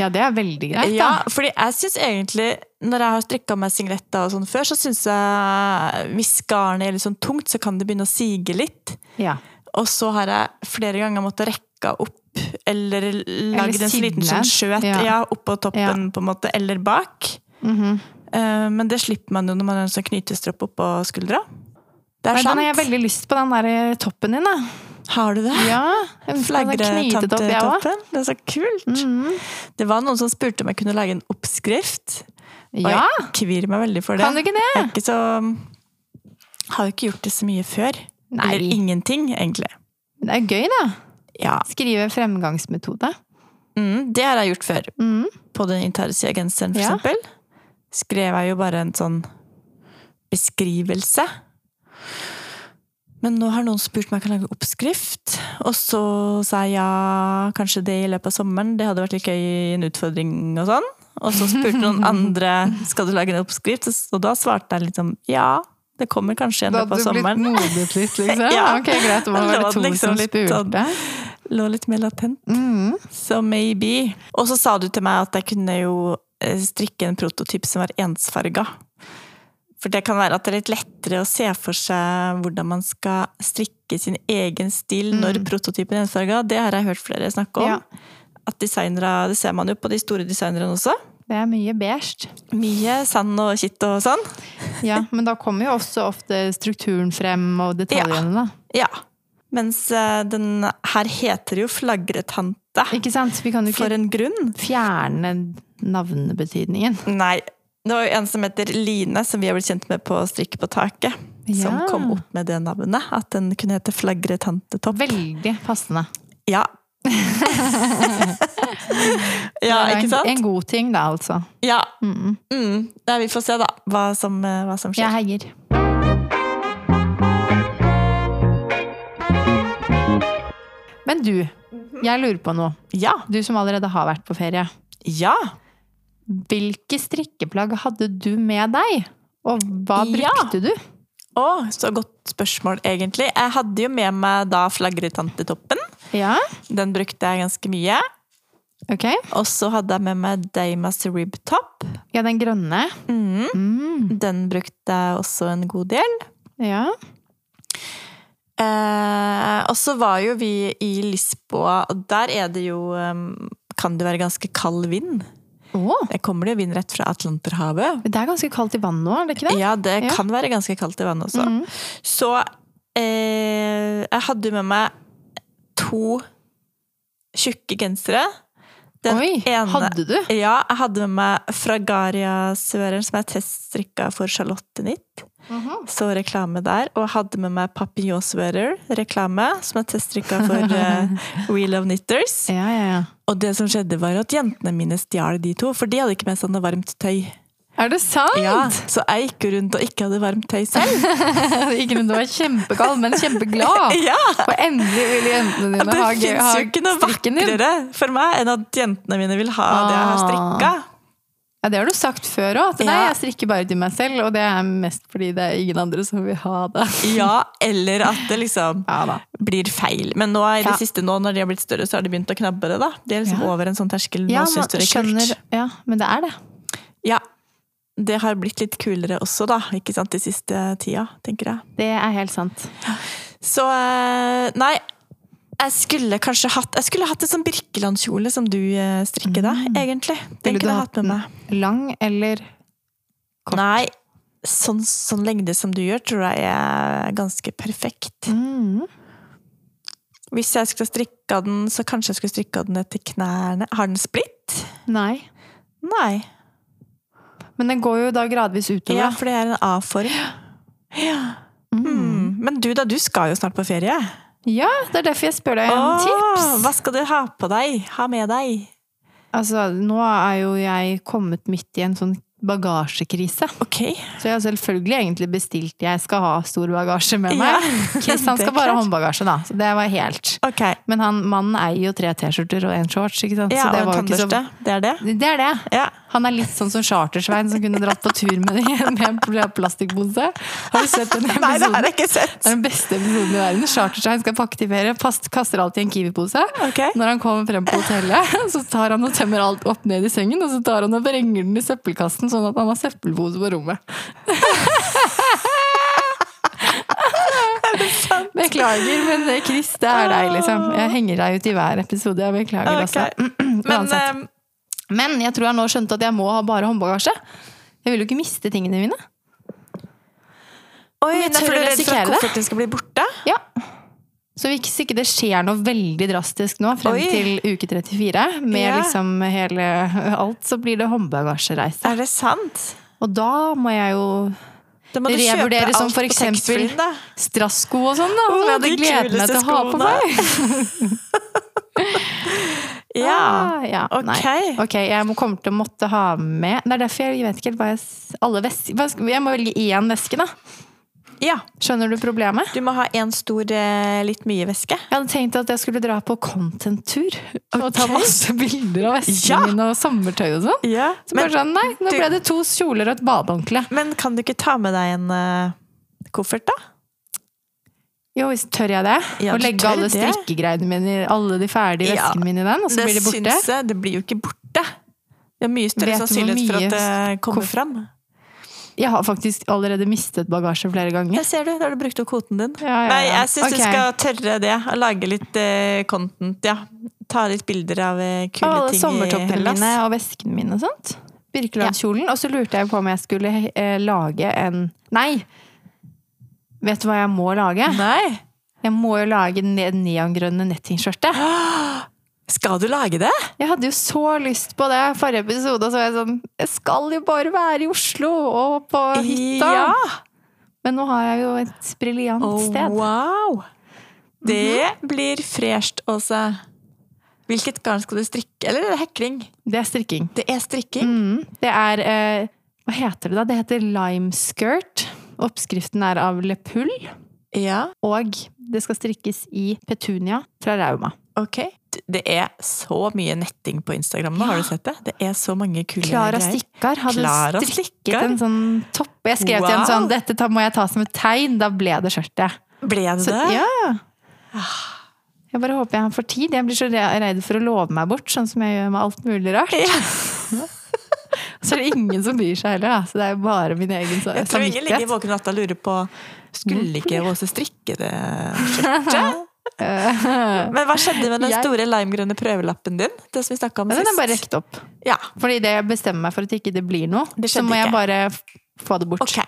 Speaker 2: Ja, det er veldig greit, da.
Speaker 1: Ja, fordi jeg syns egentlig, når jeg har strikka meg singletter og sånn før, så syns jeg hvis garnet er litt sånn tungt, så kan det begynne å sige litt.
Speaker 2: Ja.
Speaker 1: Og så har jeg flere ganger måttet rekke opp, eller lagd en
Speaker 2: sidne.
Speaker 1: liten sånn skjøt ja.
Speaker 2: Ja.
Speaker 1: oppå toppen,
Speaker 2: Ja.
Speaker 1: på en måte, eller bak.
Speaker 2: Mhm.
Speaker 1: Eh, Men det slipper man jo når man har en sånn knytestropp oppå skuldra. Det er
Speaker 2: Nei, Den
Speaker 1: sant.
Speaker 2: har jeg veldig lyst på, den der eh, toppen din, da.
Speaker 1: Har du det?
Speaker 2: Ja, jeg ønsker meg en knytet opp, jeg Mm. òg.
Speaker 1: Flagretantetoppen. Det er så kult. Det var noen som spurte om jeg kunne lage en oppskrift. Og
Speaker 2: Ja,
Speaker 1: jeg kvir meg veldig for det.
Speaker 2: kan du ikke det?
Speaker 1: Jeg er ikke så Har jo ikke gjort det så mye før.
Speaker 2: Nei.
Speaker 1: Eller ingenting, egentlig.
Speaker 2: Det er gøy, da.
Speaker 1: Ja.
Speaker 2: Skrive fremgangsmetode.
Speaker 1: Mm, det har jeg gjort før.
Speaker 2: Mm.
Speaker 1: På den intarsia genseren, for
Speaker 2: Ja.
Speaker 1: eksempel. Skrev jeg jo bare en sånn beskrivelse. Men nå har noen spurt om jeg kan lage oppskrift, og så sa jeg ja, kanskje det i løpet av sommeren. Det hadde vært litt gøy i en utfordring og sånn. Og så spurte noen andre skal du lage en oppskrift, og da svarte jeg liksom ja. Det kommer kanskje i
Speaker 2: Da
Speaker 1: løpet
Speaker 2: hadde
Speaker 1: av
Speaker 2: du blitt
Speaker 1: sommeren.
Speaker 2: modet litt, liksom?
Speaker 1: Ja.
Speaker 2: Ok, greit. Det var
Speaker 1: Det
Speaker 2: det
Speaker 1: var
Speaker 2: to
Speaker 1: liksom
Speaker 2: som
Speaker 1: litt sånn-
Speaker 2: spurte.
Speaker 1: Lå litt mer latent.
Speaker 2: Mm.
Speaker 1: Så maybe. Og så sa du til meg at jeg kunne jo eh, strikke en prototyp som var ensfarga. For det kan være at det er litt lettere å se for seg hvordan man skal strikke sin egen stil når prototypen er ensfarga. Det har jeg hørt flere snakke om.
Speaker 2: Mm. Ja.
Speaker 1: At designere, Det ser man jo på de store designerne også.
Speaker 2: Det er mye beige.
Speaker 1: Mye sand og kitt og sånn.
Speaker 2: Ja, men da kommer jo også ofte strukturen frem og detaljene, da.
Speaker 1: Ja. Mens eh, den her heter jo flagretante.
Speaker 2: Ikke sant? Vi kan jo
Speaker 1: For
Speaker 2: ikke
Speaker 1: en grunn.
Speaker 2: fjerne navnebetydningen.
Speaker 1: Nei. Det var jo en som heter Line, som vi har blitt kjent med på Strikke på taket. Som
Speaker 2: Ja.
Speaker 1: kom opp med det navnet. At den kunne hete Flagretantetopp.
Speaker 2: Veldig passende.
Speaker 1: Ja. ja,
Speaker 2: Det er
Speaker 1: ikke
Speaker 2: en- En
Speaker 1: sant?
Speaker 2: god ting, da, altså.
Speaker 1: Ja.
Speaker 2: Mm.
Speaker 1: Mm. Nei, vi får se, da, hva som, eh, hva som
Speaker 2: Jeg
Speaker 1: skjer.
Speaker 2: heier. Men du,
Speaker 1: Mhm.
Speaker 2: jeg lurer på noe.
Speaker 1: Ja.
Speaker 2: Du som allerede har vært på ferie.
Speaker 1: Ja.
Speaker 2: Hvilke strikkeplagg hadde du med deg? Og hva
Speaker 1: Ja.
Speaker 2: brukte du?
Speaker 1: Å, så godt spørsmål, egentlig. Jeg hadde jo med meg da Flagretantetoppen.
Speaker 2: Ja,
Speaker 1: Den brukte jeg ganske mye.
Speaker 2: ok.
Speaker 1: Og så hadde jeg med meg Damas Ribtop.
Speaker 2: Ja, den grønne.
Speaker 1: Mm.
Speaker 2: Mm.
Speaker 1: Den brukte jeg også en god del.
Speaker 2: Ja.
Speaker 1: Eh, og så var jo vi i Lisboa, og der er det jo ehm, Kan det være ganske kald vind?
Speaker 2: Å,
Speaker 1: Der kommer det jo vind rett fra Atlanterhavet.
Speaker 2: det er ganske kaldt i vannet nå, er det ikke det?
Speaker 1: Ja, det
Speaker 2: Ja.
Speaker 1: kan være ganske kaldt i vannet også. Så eh, jeg hadde jo med meg to tjukke gensere.
Speaker 2: Oi, hadde du?
Speaker 1: Ja, jeg hadde med meg Fragaria-søren, som jeg teststrikka for Charlotte Nitt. Så reklame der. Og jeg hadde med meg Papillon-sweater, reklame, som jeg teststrikka for eh, Wheel of Knitters.
Speaker 2: Ja, ja, ja.
Speaker 1: Og det som skjedde, var at jentene mine stjal de to, for de hadde ikke med seg noe varmt tøy.
Speaker 2: Er det sant?
Speaker 1: Ja, så jeg gikk jo rundt og ikke hadde varmt tøy selv.
Speaker 2: Ikke noe, du var kjempekald, men kjempeglad.
Speaker 1: Ja!
Speaker 2: Og endelig ville jentene dine
Speaker 1: Det
Speaker 2: ha gøy-
Speaker 1: fins
Speaker 2: ha
Speaker 1: jo ikke noe
Speaker 2: strikken din.
Speaker 1: vakrere for meg enn at jentene mine vil ha det jeg har strikka.
Speaker 2: Ah. Ja, det har du sagt før òg. At nei,
Speaker 1: Ja.
Speaker 2: jeg strikker bare til meg selv. Og det er mest fordi det er ingen andre som vil ha det.
Speaker 1: Ja, eller at det liksom
Speaker 2: Ja da.
Speaker 1: blir feil. Men nå i det
Speaker 2: Ja.
Speaker 1: siste nå, når de har blitt større, så har de begynt å knabbe det. da. De er liksom
Speaker 2: Ja.
Speaker 1: over en sånn terskel. Nå
Speaker 2: Ja, man
Speaker 1: syns du det er
Speaker 2: skjønner,
Speaker 1: kult.
Speaker 2: ja, men det er det.
Speaker 1: Ja, Det har blitt litt kulere også, da. ikke sant, De siste tida, tenker jeg.
Speaker 2: Det er helt sant.
Speaker 1: Så eh, nei. Jeg skulle kanskje hatt jeg skulle hatt en sånn Birkelandkjole som du eh, strikker, da, egentlig. Den
Speaker 2: Mm. Ville du
Speaker 1: kunne jeg
Speaker 2: hatt
Speaker 1: hatt med
Speaker 2: den?
Speaker 1: meg.
Speaker 2: Lang eller
Speaker 1: Nei, sånn, sånn lengde som du gjør, tror jeg er ganske perfekt.
Speaker 2: mm.
Speaker 1: Hvis jeg skulle strikka den, så kanskje jeg skulle strikka den ned til knærne. Har den splitt?
Speaker 2: Nei.
Speaker 1: Nei.
Speaker 2: Men den går jo da gradvis utover.
Speaker 1: Ja,
Speaker 2: da.
Speaker 1: for det er en A-form. Ja. Mm. Men du da, du skal jo snart på ferie.
Speaker 2: Ja, det er derfor jeg spør deg om
Speaker 1: Åh,
Speaker 2: tips.
Speaker 1: Ah, Hva skal du ha på deg? Ha med deg?
Speaker 2: Altså, nå er jo jeg kommet midt i en sånn bagasjekrise.
Speaker 1: Ok.
Speaker 2: Så jeg har selvfølgelig egentlig bestilt jeg skal ha stor bagasje med
Speaker 1: Ja,
Speaker 2: meg. Kristian
Speaker 1: det er
Speaker 2: skal bare ha
Speaker 1: klart.
Speaker 2: håndbagasje, da. Så det var helt.
Speaker 1: Ok.
Speaker 2: Men han, mannen eier jo tre T-skjorter og en shorts, ikke sant?
Speaker 1: Ja,
Speaker 2: så det
Speaker 1: og en
Speaker 2: var jo ikke
Speaker 1: tannbørste. Det er det?
Speaker 2: Så... Det er det.
Speaker 1: Ja.
Speaker 2: Han er litt sånn som Chartersvein som kunne dratt på tur med, med en plastikkpose. Har du sett den
Speaker 1: Nei, det har
Speaker 2: episoden?
Speaker 1: jeg ikke sett.
Speaker 2: Det er den beste episoden i verden. Chartersvein skal pakke til ferie, past- kaster alltid en Kiwi-pose.
Speaker 1: Ok.
Speaker 2: Når han kommer frem på hotellet, så tar han og tømmer alt opp ned i sengen, og så tar han og vrenger den i søppelkassen, sånn at han har søppelpose på rommet. Beklager, men eh, Chris, det er deg, liksom. Jeg henger deg ut i hver episode. Jeg beklager
Speaker 1: Ah. Ok.
Speaker 2: også.
Speaker 1: Men
Speaker 2: Uansett.
Speaker 1: eh,
Speaker 2: Men jeg tror jeg nå skjønte at jeg må ha bare håndbagasje. Jeg vil jo ikke miste tingene mine.
Speaker 1: Oi,
Speaker 2: jeg
Speaker 1: nei, for
Speaker 2: tør
Speaker 1: du er redd for
Speaker 2: risikere
Speaker 1: at
Speaker 2: det.
Speaker 1: kofferten skal bli borte?
Speaker 2: Ja. Så hvis ikke det skjer noe veldig drastisk nå, frem
Speaker 1: Oi.
Speaker 2: til uke 34, med
Speaker 1: Ja.
Speaker 2: liksom hele alt, så blir det håndbagasjereise.
Speaker 1: Er det sant?
Speaker 2: Og da må jeg jo
Speaker 1: Da må du
Speaker 2: Revurdere
Speaker 1: kjøpe
Speaker 2: som
Speaker 1: alt
Speaker 2: for
Speaker 1: på
Speaker 2: eksempel-
Speaker 1: taxfree-en, da.
Speaker 2: Strassko og sånn, da.
Speaker 1: Å,
Speaker 2: Som jeg hadde
Speaker 1: de
Speaker 2: gledet meg til å
Speaker 1: kuleste
Speaker 2: ha på meg.
Speaker 1: Ja.
Speaker 2: Ah, ja.
Speaker 1: Ok.
Speaker 2: Nei. ok. Jeg må kommer til å måtte ha med Det er derfor jeg vet ikke helt hva jeg s- alle vesker, hva skal- Jeg må velge én veske, da.
Speaker 1: Ja,
Speaker 2: Skjønner du problemet?
Speaker 1: du må ha en stor eh, litt mye væske.
Speaker 2: Jeg hadde tenkt at jeg skulle dra på content-tur og ta
Speaker 1: Ok.
Speaker 2: masse bilder av vesken
Speaker 1: Ja.
Speaker 2: min og sommertøy og sånn. Så
Speaker 1: Men,
Speaker 2: bare sånn, nei, nå
Speaker 1: du-
Speaker 2: ble det to kjoler og et badehåndkle.
Speaker 1: men kan du ikke ta med deg en eh, koffert, da?
Speaker 2: Jo, hvis tør jeg det?
Speaker 1: Ja,
Speaker 2: og
Speaker 1: du
Speaker 2: legge
Speaker 1: tør
Speaker 2: alle
Speaker 1: det.
Speaker 2: strikkegreiene mine, i- alle de ferdige
Speaker 1: Ja,
Speaker 2: veskene mine i den, og så blir de borte?
Speaker 1: syns jeg. Det blir jo ikke borte. Det er mye større
Speaker 2: Vet du hvor
Speaker 1: sannsynlighet for
Speaker 2: mye
Speaker 1: at det kommer
Speaker 2: koff-
Speaker 1: fram.
Speaker 2: Jeg har faktisk allerede mistet bagasje flere ganger.
Speaker 1: Der ser du, da har du brukt opp kvoten din.
Speaker 2: Ja, ja, ja.
Speaker 1: Nei, jeg syns
Speaker 2: Ok.
Speaker 1: du skal tørre det. Og lage litt eh, content, ja. Ta litt bilder av eh,
Speaker 2: Og
Speaker 1: kule
Speaker 2: alle
Speaker 1: ting i
Speaker 2: sommertoppene
Speaker 1: Hellas.
Speaker 2: mine og veskene mine og sånt. Birkelandskjolen. Og så lurte jeg på om jeg skulle eh, lage en Nei! Vet du hva jeg må lage?
Speaker 1: Nei!
Speaker 2: Jeg må jo lage det neongrønne nettingskjørtet.
Speaker 1: Skal du lage det?
Speaker 2: Jeg hadde jo så lyst på det forrige episode, og så var jeg sånn Jeg skal jo bare være i Oslo og på hytta!
Speaker 1: Ja!
Speaker 2: Men nå har jeg jo et briljant
Speaker 1: Oh,
Speaker 2: sted. Mhm.
Speaker 1: wow! Det blir fresht, Åse. Hvilket garn skal du strikke? Eller er det hekling?
Speaker 2: Det er strikking.
Speaker 1: Det er strikking.
Speaker 2: Mm, det er eh, Hva heter det da? Det heter limeskirt. Oppskriften er av Le Pull.
Speaker 1: Ja,
Speaker 2: Og det skal strikkes i petunia fra Rauma.
Speaker 1: ok. D- Det er så mye netting på Instagram nå, har du sett det? Det er så mange kule
Speaker 2: Klara
Speaker 1: greier.
Speaker 2: Stikkar hadde
Speaker 1: Klara
Speaker 2: strikket
Speaker 1: Stikkar?
Speaker 2: en sånn topp. Jeg skrev til henne
Speaker 1: Wow.
Speaker 2: sånn Dette ta- må jeg ta som et tegn. Da ble det skjørtet.
Speaker 1: Ble det
Speaker 2: Så,
Speaker 1: det?
Speaker 2: ja. Ah. Jeg bare håper jeg får tid. Jeg blir så re- redd for å love meg bort, sånn som jeg gjør med alt mulig rart. Så er det ingen som bryr seg heller, da. Så det er jo bare min egen så-
Speaker 1: Jeg tror ingen ligger
Speaker 2: Eh, samvittighet.
Speaker 1: våken natta og lurer på Skulle ikke Åse strikke det skjørtet? Men hva skjedde med den
Speaker 2: Eh. Jeg-
Speaker 1: store limegrønne prøvelappen din? Det som vi snakka om
Speaker 2: Men
Speaker 1: sist?
Speaker 2: den er bare rekt opp.
Speaker 1: Ja,
Speaker 2: Fordi det jeg bestemmer meg for at ikke det blir noe,
Speaker 1: Det
Speaker 2: så
Speaker 1: skjedde
Speaker 2: må jeg
Speaker 1: ikke.
Speaker 2: bare f- få det bort.
Speaker 1: ok.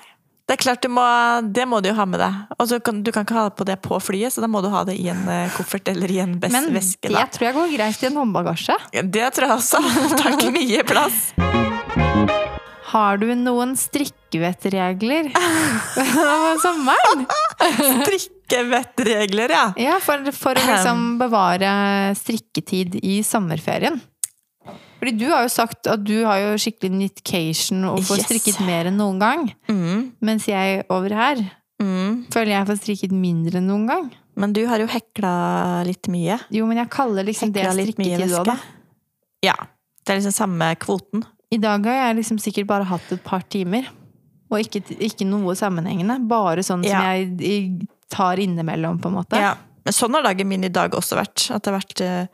Speaker 1: Det er klart, du må, det må du jo ha med deg. Og så kan, du kan ikke ha det på det på flyet, så da må du ha det i en eh, koffert eller i en bes-
Speaker 2: Men det
Speaker 1: veske. da.
Speaker 2: tror jeg går greit i en håndbagasje.
Speaker 1: Ja, Det tror jeg også. Tar ikke mye plass.
Speaker 2: Har du noen strikkevettregler over sommeren?
Speaker 1: Strikkevettregler, ja.
Speaker 2: Ja, for, for å liksom bevare strikketid i sommerferien. Fordi du har jo sagt at du har jo skikkelig nitcation og får
Speaker 1: Yes.
Speaker 2: strikket mer enn noen gang.
Speaker 1: Mm,
Speaker 2: Mens jeg over her
Speaker 1: mm.
Speaker 2: føler jeg får strikket mindre enn noen gang.
Speaker 1: Men du har jo hekla litt mye.
Speaker 2: Jo, men jeg kaller liksom
Speaker 1: Hekla
Speaker 2: det
Speaker 1: litt mye
Speaker 2: strikketid
Speaker 1: væske.
Speaker 2: òg, da.
Speaker 1: Ja. Det er liksom samme kvoten.
Speaker 2: I dag har jeg liksom sikkert bare hatt et par timer. Og ikke, ikke noe sammenhengende. Bare sånn som
Speaker 1: Ja.
Speaker 2: jeg i- tar innimellom, på en måte.
Speaker 1: Ja, men sånn har dagen min i dag også vært. At det har vært eh,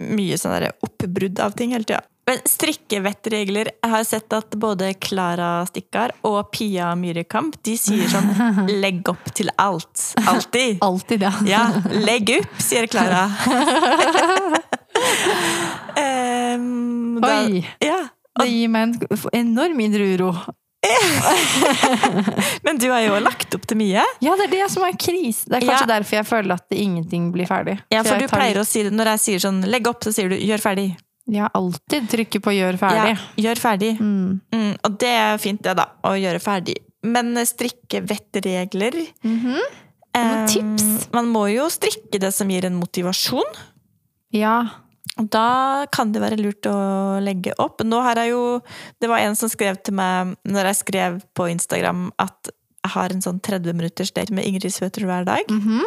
Speaker 1: mye sånn der oppbrudd av ting hele tida. Men strikkevettregler Jeg har sett at både Klara Stikkar og Pia Myhrekamp de sier sånn 'legg opp til alt'. Alltid.
Speaker 2: Alltid det.
Speaker 1: Ja, 'legg opp', sier Klara. Em, Ehm, da-
Speaker 2: Oi.
Speaker 1: Ja.
Speaker 2: Det gir meg en enorm indre uro.
Speaker 1: Men du har jo lagt opp til mye.
Speaker 2: Ja, det er det som er krise. Det er kanskje
Speaker 1: Ja.
Speaker 2: derfor jeg føler at det ingenting blir ferdig.
Speaker 1: Ja, For
Speaker 2: jeg
Speaker 1: du
Speaker 2: tar-
Speaker 1: pleier å si det når jeg sier sånn 'legg opp', så sier du 'gjør ferdig'.
Speaker 2: Ja, alltid trykke på 'gjør ferdig'.
Speaker 1: Ja, gjør ferdig.
Speaker 2: Mm.
Speaker 1: Mm, og det er fint, det, da. Å gjøre ferdig. Men strikkevettregler
Speaker 2: Mhm. noen
Speaker 1: eh,
Speaker 2: tips?
Speaker 1: Man må jo strikke det som gir en motivasjon.
Speaker 2: Ja.
Speaker 1: Og Da kan det være lurt å legge opp. Nå har jeg jo Det var en som skrev til meg når jeg skrev på Instagram at jeg har en sånn 30 minutters date med Ingrid Svøter hver dag.
Speaker 2: Mhm.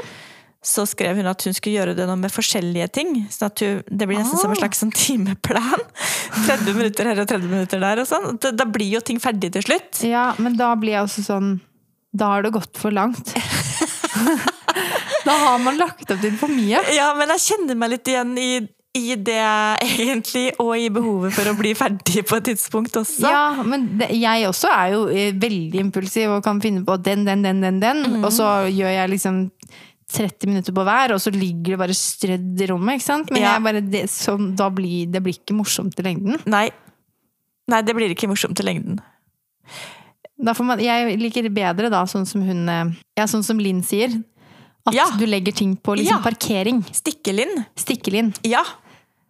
Speaker 1: Så skrev hun at hun skulle gjøre det nå med forskjellige ting. Sånn at hun, det blir nesten som en
Speaker 2: Ah.
Speaker 1: slags sånn timeplan. 30 minutter her og 30 minutter der og sånn. Da, da blir jo ting ferdig til slutt.
Speaker 2: ja, men da blir jeg også sånn Da har det gått for langt. da har man lagt opp til for mye.
Speaker 1: Ja, men jeg kjenner meg litt igjen i, i det, egentlig, og i behovet for å bli ferdig på et tidspunkt også.
Speaker 2: Ja, men det, jeg også er jo eh, veldig impulsiv og kan finne på den, den, den, den, den.
Speaker 1: Mhm.
Speaker 2: Og så gjør jeg liksom 30 minutter på hver, og så ligger det bare strødd i rommet. ikke sant? Men
Speaker 1: Ja.
Speaker 2: jeg bare, det, så, da blir, det blir ikke morsomt i lengden.
Speaker 1: Nei. Nei, det blir ikke morsomt i lengden.
Speaker 2: Da får man, jeg liker bedre da, sånn som hun eh, Ja, sånn som Linn sier. At
Speaker 1: Ja.
Speaker 2: du legger ting på
Speaker 1: Ja.
Speaker 2: liksom parkering.
Speaker 1: Stikkelinn?
Speaker 2: Stikkelinn.
Speaker 1: Ja.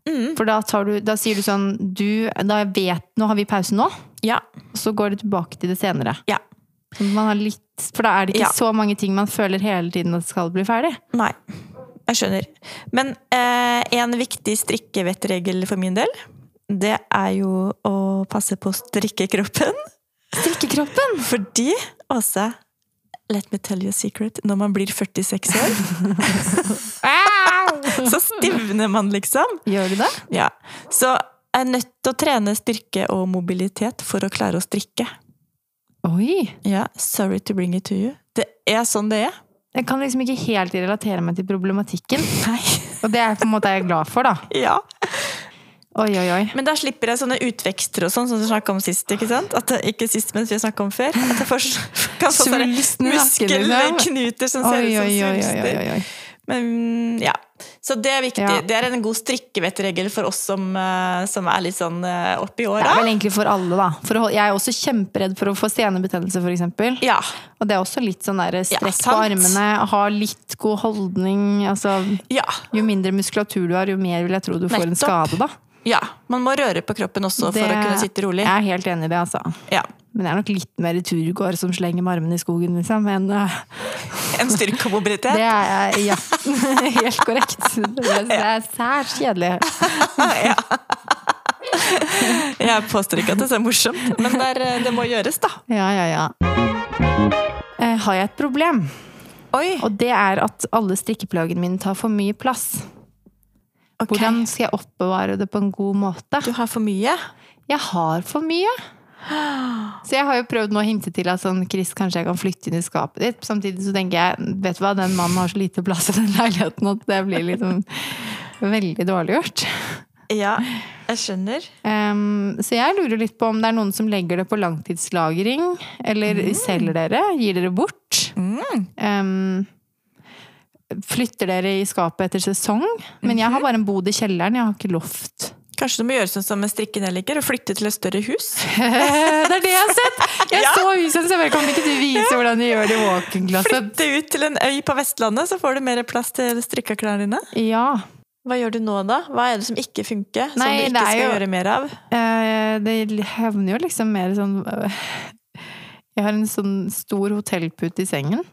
Speaker 1: Mm.
Speaker 2: For da, tar du, da sier du sånn du, da vet, Nå har vi pause nå,
Speaker 1: Ja.
Speaker 2: og så går du tilbake til det senere.
Speaker 1: Ja.
Speaker 2: Så Man har litt, for da er det ikke
Speaker 1: Ja.
Speaker 2: så mange ting man føler hele tiden at skal bli ferdig.
Speaker 1: Nei. Jeg skjønner. Men eh, en viktig strikkevettregel for min del, det er jo å passe på å strikke kroppen.
Speaker 2: Strikkekroppen!
Speaker 1: Fordi, Åse, Let me tell you a secret. Når man blir 46 år, så stivner man, liksom.
Speaker 2: Ah! Gjør du det?
Speaker 1: Ja. Så jeg er nødt til å trene styrke og mobilitet for å klare å strikke.
Speaker 2: Oi!
Speaker 1: Ja, sorry to bring it to you. Det er sånn det er.
Speaker 2: Jeg kan liksom ikke helt relatere meg til problematikken.
Speaker 1: Nei.
Speaker 2: Og det er på en måte jeg er glad for, da.
Speaker 1: Ja.
Speaker 2: Oi, oi, oi.
Speaker 1: Men da slipper jeg sånne utvekster og sånn, som vi snakka om sist. Ikke sant? At det, ikke sist, men vi snakka om før. At jeg får, kan få sånne
Speaker 2: Svulsten i nakken, liksom.
Speaker 1: muskelknuter som ser
Speaker 2: Oi,
Speaker 1: ut som
Speaker 2: oi, oi, oi,
Speaker 1: svulster.
Speaker 2: oi, oi.
Speaker 1: Men ja, så det er viktig.
Speaker 2: Ja.
Speaker 1: Det er en god strikkevettregel for oss som, eh, som er litt sånn eh, oppi
Speaker 2: Det er
Speaker 1: åra.
Speaker 2: vel egentlig for alle, da. For å, hol- jeg er også kjemperedd for å få senebetennelse, f.eks.
Speaker 1: Ja.
Speaker 2: Og det er også litt sånn der
Speaker 1: Ja,
Speaker 2: strekk på
Speaker 1: sant.
Speaker 2: armene, ha litt god holdning. Altså,
Speaker 1: ja.
Speaker 2: jo mindre muskulatur du har, jo mer vil jeg tro du får en
Speaker 1: Nettopp.
Speaker 2: skade, da.
Speaker 1: Ja. Man må røre på kroppen også for å kunne sitte rolig.
Speaker 2: Jeg er helt enig i det, altså.
Speaker 1: Ja.
Speaker 2: Men jeg er nok litt mer turgåer som slenger med armene i skogen, liksom. Men eh,
Speaker 1: En styrke og mobilitet.
Speaker 2: det er jeg, ja. Helt korrekt. Det er særs kjedelig.
Speaker 1: ja. Jeg påstår ikke at det er morsomt, men det, er, eh, det må gjøres, da.
Speaker 2: Ja, ja, ja. Eh, Har jeg et problem?
Speaker 1: Oi!
Speaker 2: Og det er at alle strikkeplaggene mine tar for mye plass.
Speaker 1: ok.
Speaker 2: Hvordan skal jeg oppbevare det på en god måte?
Speaker 1: Du har for mye.
Speaker 2: Jeg har for mye. Så jeg har jo prøvd nå å hinte til at sånn, Chris, kanskje jeg kan flytte inn i skapet ditt. Samtidig så tenker jeg, vet du hva, den mannen har så lite plass i den leiligheten at det blir liksom veldig dårlig gjort.
Speaker 1: Ja, jeg skjønner.
Speaker 2: Ehm, så jeg lurer litt på om det er noen som legger det på langtidslagring, eller selger dere, gir dere bort. Ehm, flytter dere i skapet etter sesong, men jeg har bare en bod i kjelleren, jeg har ikke loft.
Speaker 1: Kanskje du må gjøre sånn som strikken jeg liker, og flytte til et større hus?
Speaker 2: Eh, det er det jeg har sett! Jeg
Speaker 1: Ja.
Speaker 2: så huset, så jeg bare kan ikke du vise hvordan de gjør det i walk-in-glasset.
Speaker 1: Flytte ut til en øy på Vestlandet, så får du mer plass til strikka klærne dine.
Speaker 2: Ja.
Speaker 1: Hva gjør du nå, da? Hva er det som ikke funker? Som
Speaker 2: Nei,
Speaker 1: du
Speaker 2: det
Speaker 1: ikke
Speaker 2: er
Speaker 1: skal
Speaker 2: jo-
Speaker 1: gjøre mer av?
Speaker 2: Eh, det hevner jo liksom mer sånn eh, Jeg har en sånn stor hotellpute i sengen.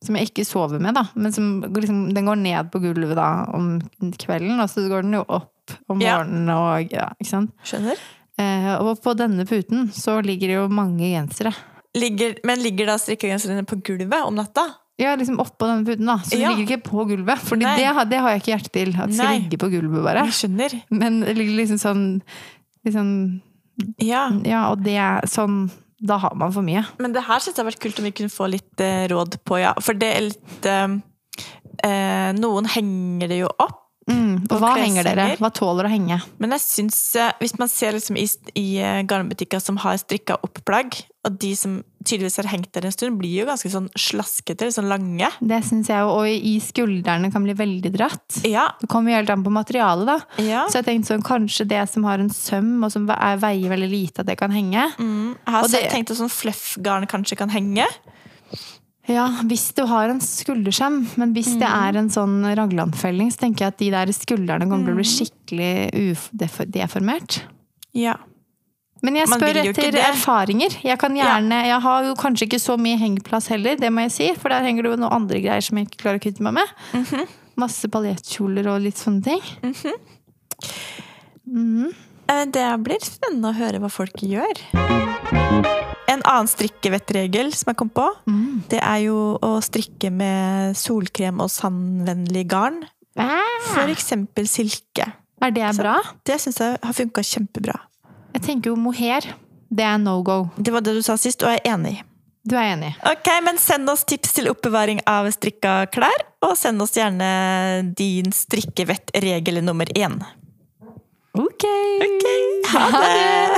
Speaker 2: Som jeg ikke sover med, da. Men som går liksom, den går ned på gulvet da om kvelden, og så går den jo opp om
Speaker 1: Ja.
Speaker 2: morgenen og ja, ikke sant.
Speaker 1: Skjønner?
Speaker 2: Eh, og på denne puten så ligger det jo mange gensere.
Speaker 1: Ligger, men ligger da strikkegenserne på gulvet om natta?
Speaker 2: Ja, liksom oppå denne puten, da. Så det
Speaker 1: Ja.
Speaker 2: ligger ikke på gulvet. For det,
Speaker 1: Nei.
Speaker 2: har- det har jeg ikke hjerte til. At det skal
Speaker 1: Nei.
Speaker 2: ligge på gulvet, bare.
Speaker 1: Jeg skjønner.
Speaker 2: Men det ligger liksom sånn liksom,
Speaker 1: Ja.
Speaker 2: Ja, og det er sånn Da har man for mye.
Speaker 1: Men det her syns jeg har vært kult om vi kunne få litt eh, råd på, ja. For det er litt eh, eh, Noen henger det jo opp.
Speaker 2: Mm. Og
Speaker 1: På
Speaker 2: hva henger dere?
Speaker 1: kleshenger?
Speaker 2: Hva tåler å henge?
Speaker 1: Men jeg syns, eh, hvis man ser liksom i, i eh, garnbutikker som har strikka opp plagg, og de som tydeligvis har hengt der en stund, blir jo ganske sånn slaskete, litt sånn lange.
Speaker 2: Det syns jeg jo. Og i skuldrene kan bli veldig dratt.
Speaker 1: Ja.
Speaker 2: Det kommer jo helt an på materialet, da.
Speaker 1: ja.
Speaker 2: Så jeg tenkte sånn, kanskje det som har en søm, og som ve- er- veier veldig lite, at det kan henge.
Speaker 1: Mm. Jeg har
Speaker 2: Og det-
Speaker 1: selv tenkt at sånn fluffgarn kanskje kan henge.
Speaker 2: Ja, hvis du har en skuldersøm, men hvis det
Speaker 1: Mm.
Speaker 2: er en sånn raglandfelling, så tenker jeg at de der skuldrene kommer til å bli
Speaker 1: Mm.
Speaker 2: skikkelig udeformert.
Speaker 1: Ja.
Speaker 2: Men jeg
Speaker 1: Man
Speaker 2: spør
Speaker 1: vil jo ikke
Speaker 2: etter
Speaker 1: det.
Speaker 2: erfaringer. Jeg kan
Speaker 1: Ja.
Speaker 2: gjerne, jeg har jo kanskje ikke så mye hengeplass heller, det må jeg si. For der henger det jo noen andre greier som jeg ikke klarer å kvitte meg med.
Speaker 1: Mhm.
Speaker 2: Masse paljettkjoler og litt sånne ting. Mhm.
Speaker 1: Eh, Det blir spennende å høre hva folk gjør. En annen strikkevettregel som jeg kom på,
Speaker 2: Mm.
Speaker 1: det er jo å strikke med solkrem og sandvennlig garn. For eksempel silke.
Speaker 2: Er det bra?
Speaker 1: Det syns jeg har funka kjempebra.
Speaker 2: Jeg tenker jo mohair. Det er no go.
Speaker 1: Det var det du sa sist, og jeg er enig. i.
Speaker 2: Du er enig?
Speaker 1: Ok, men Send oss tips til oppbevaring av strikka klær, og send oss gjerne din strikkevettregel nummer én.
Speaker 2: Ok.
Speaker 1: Ok, Ha det!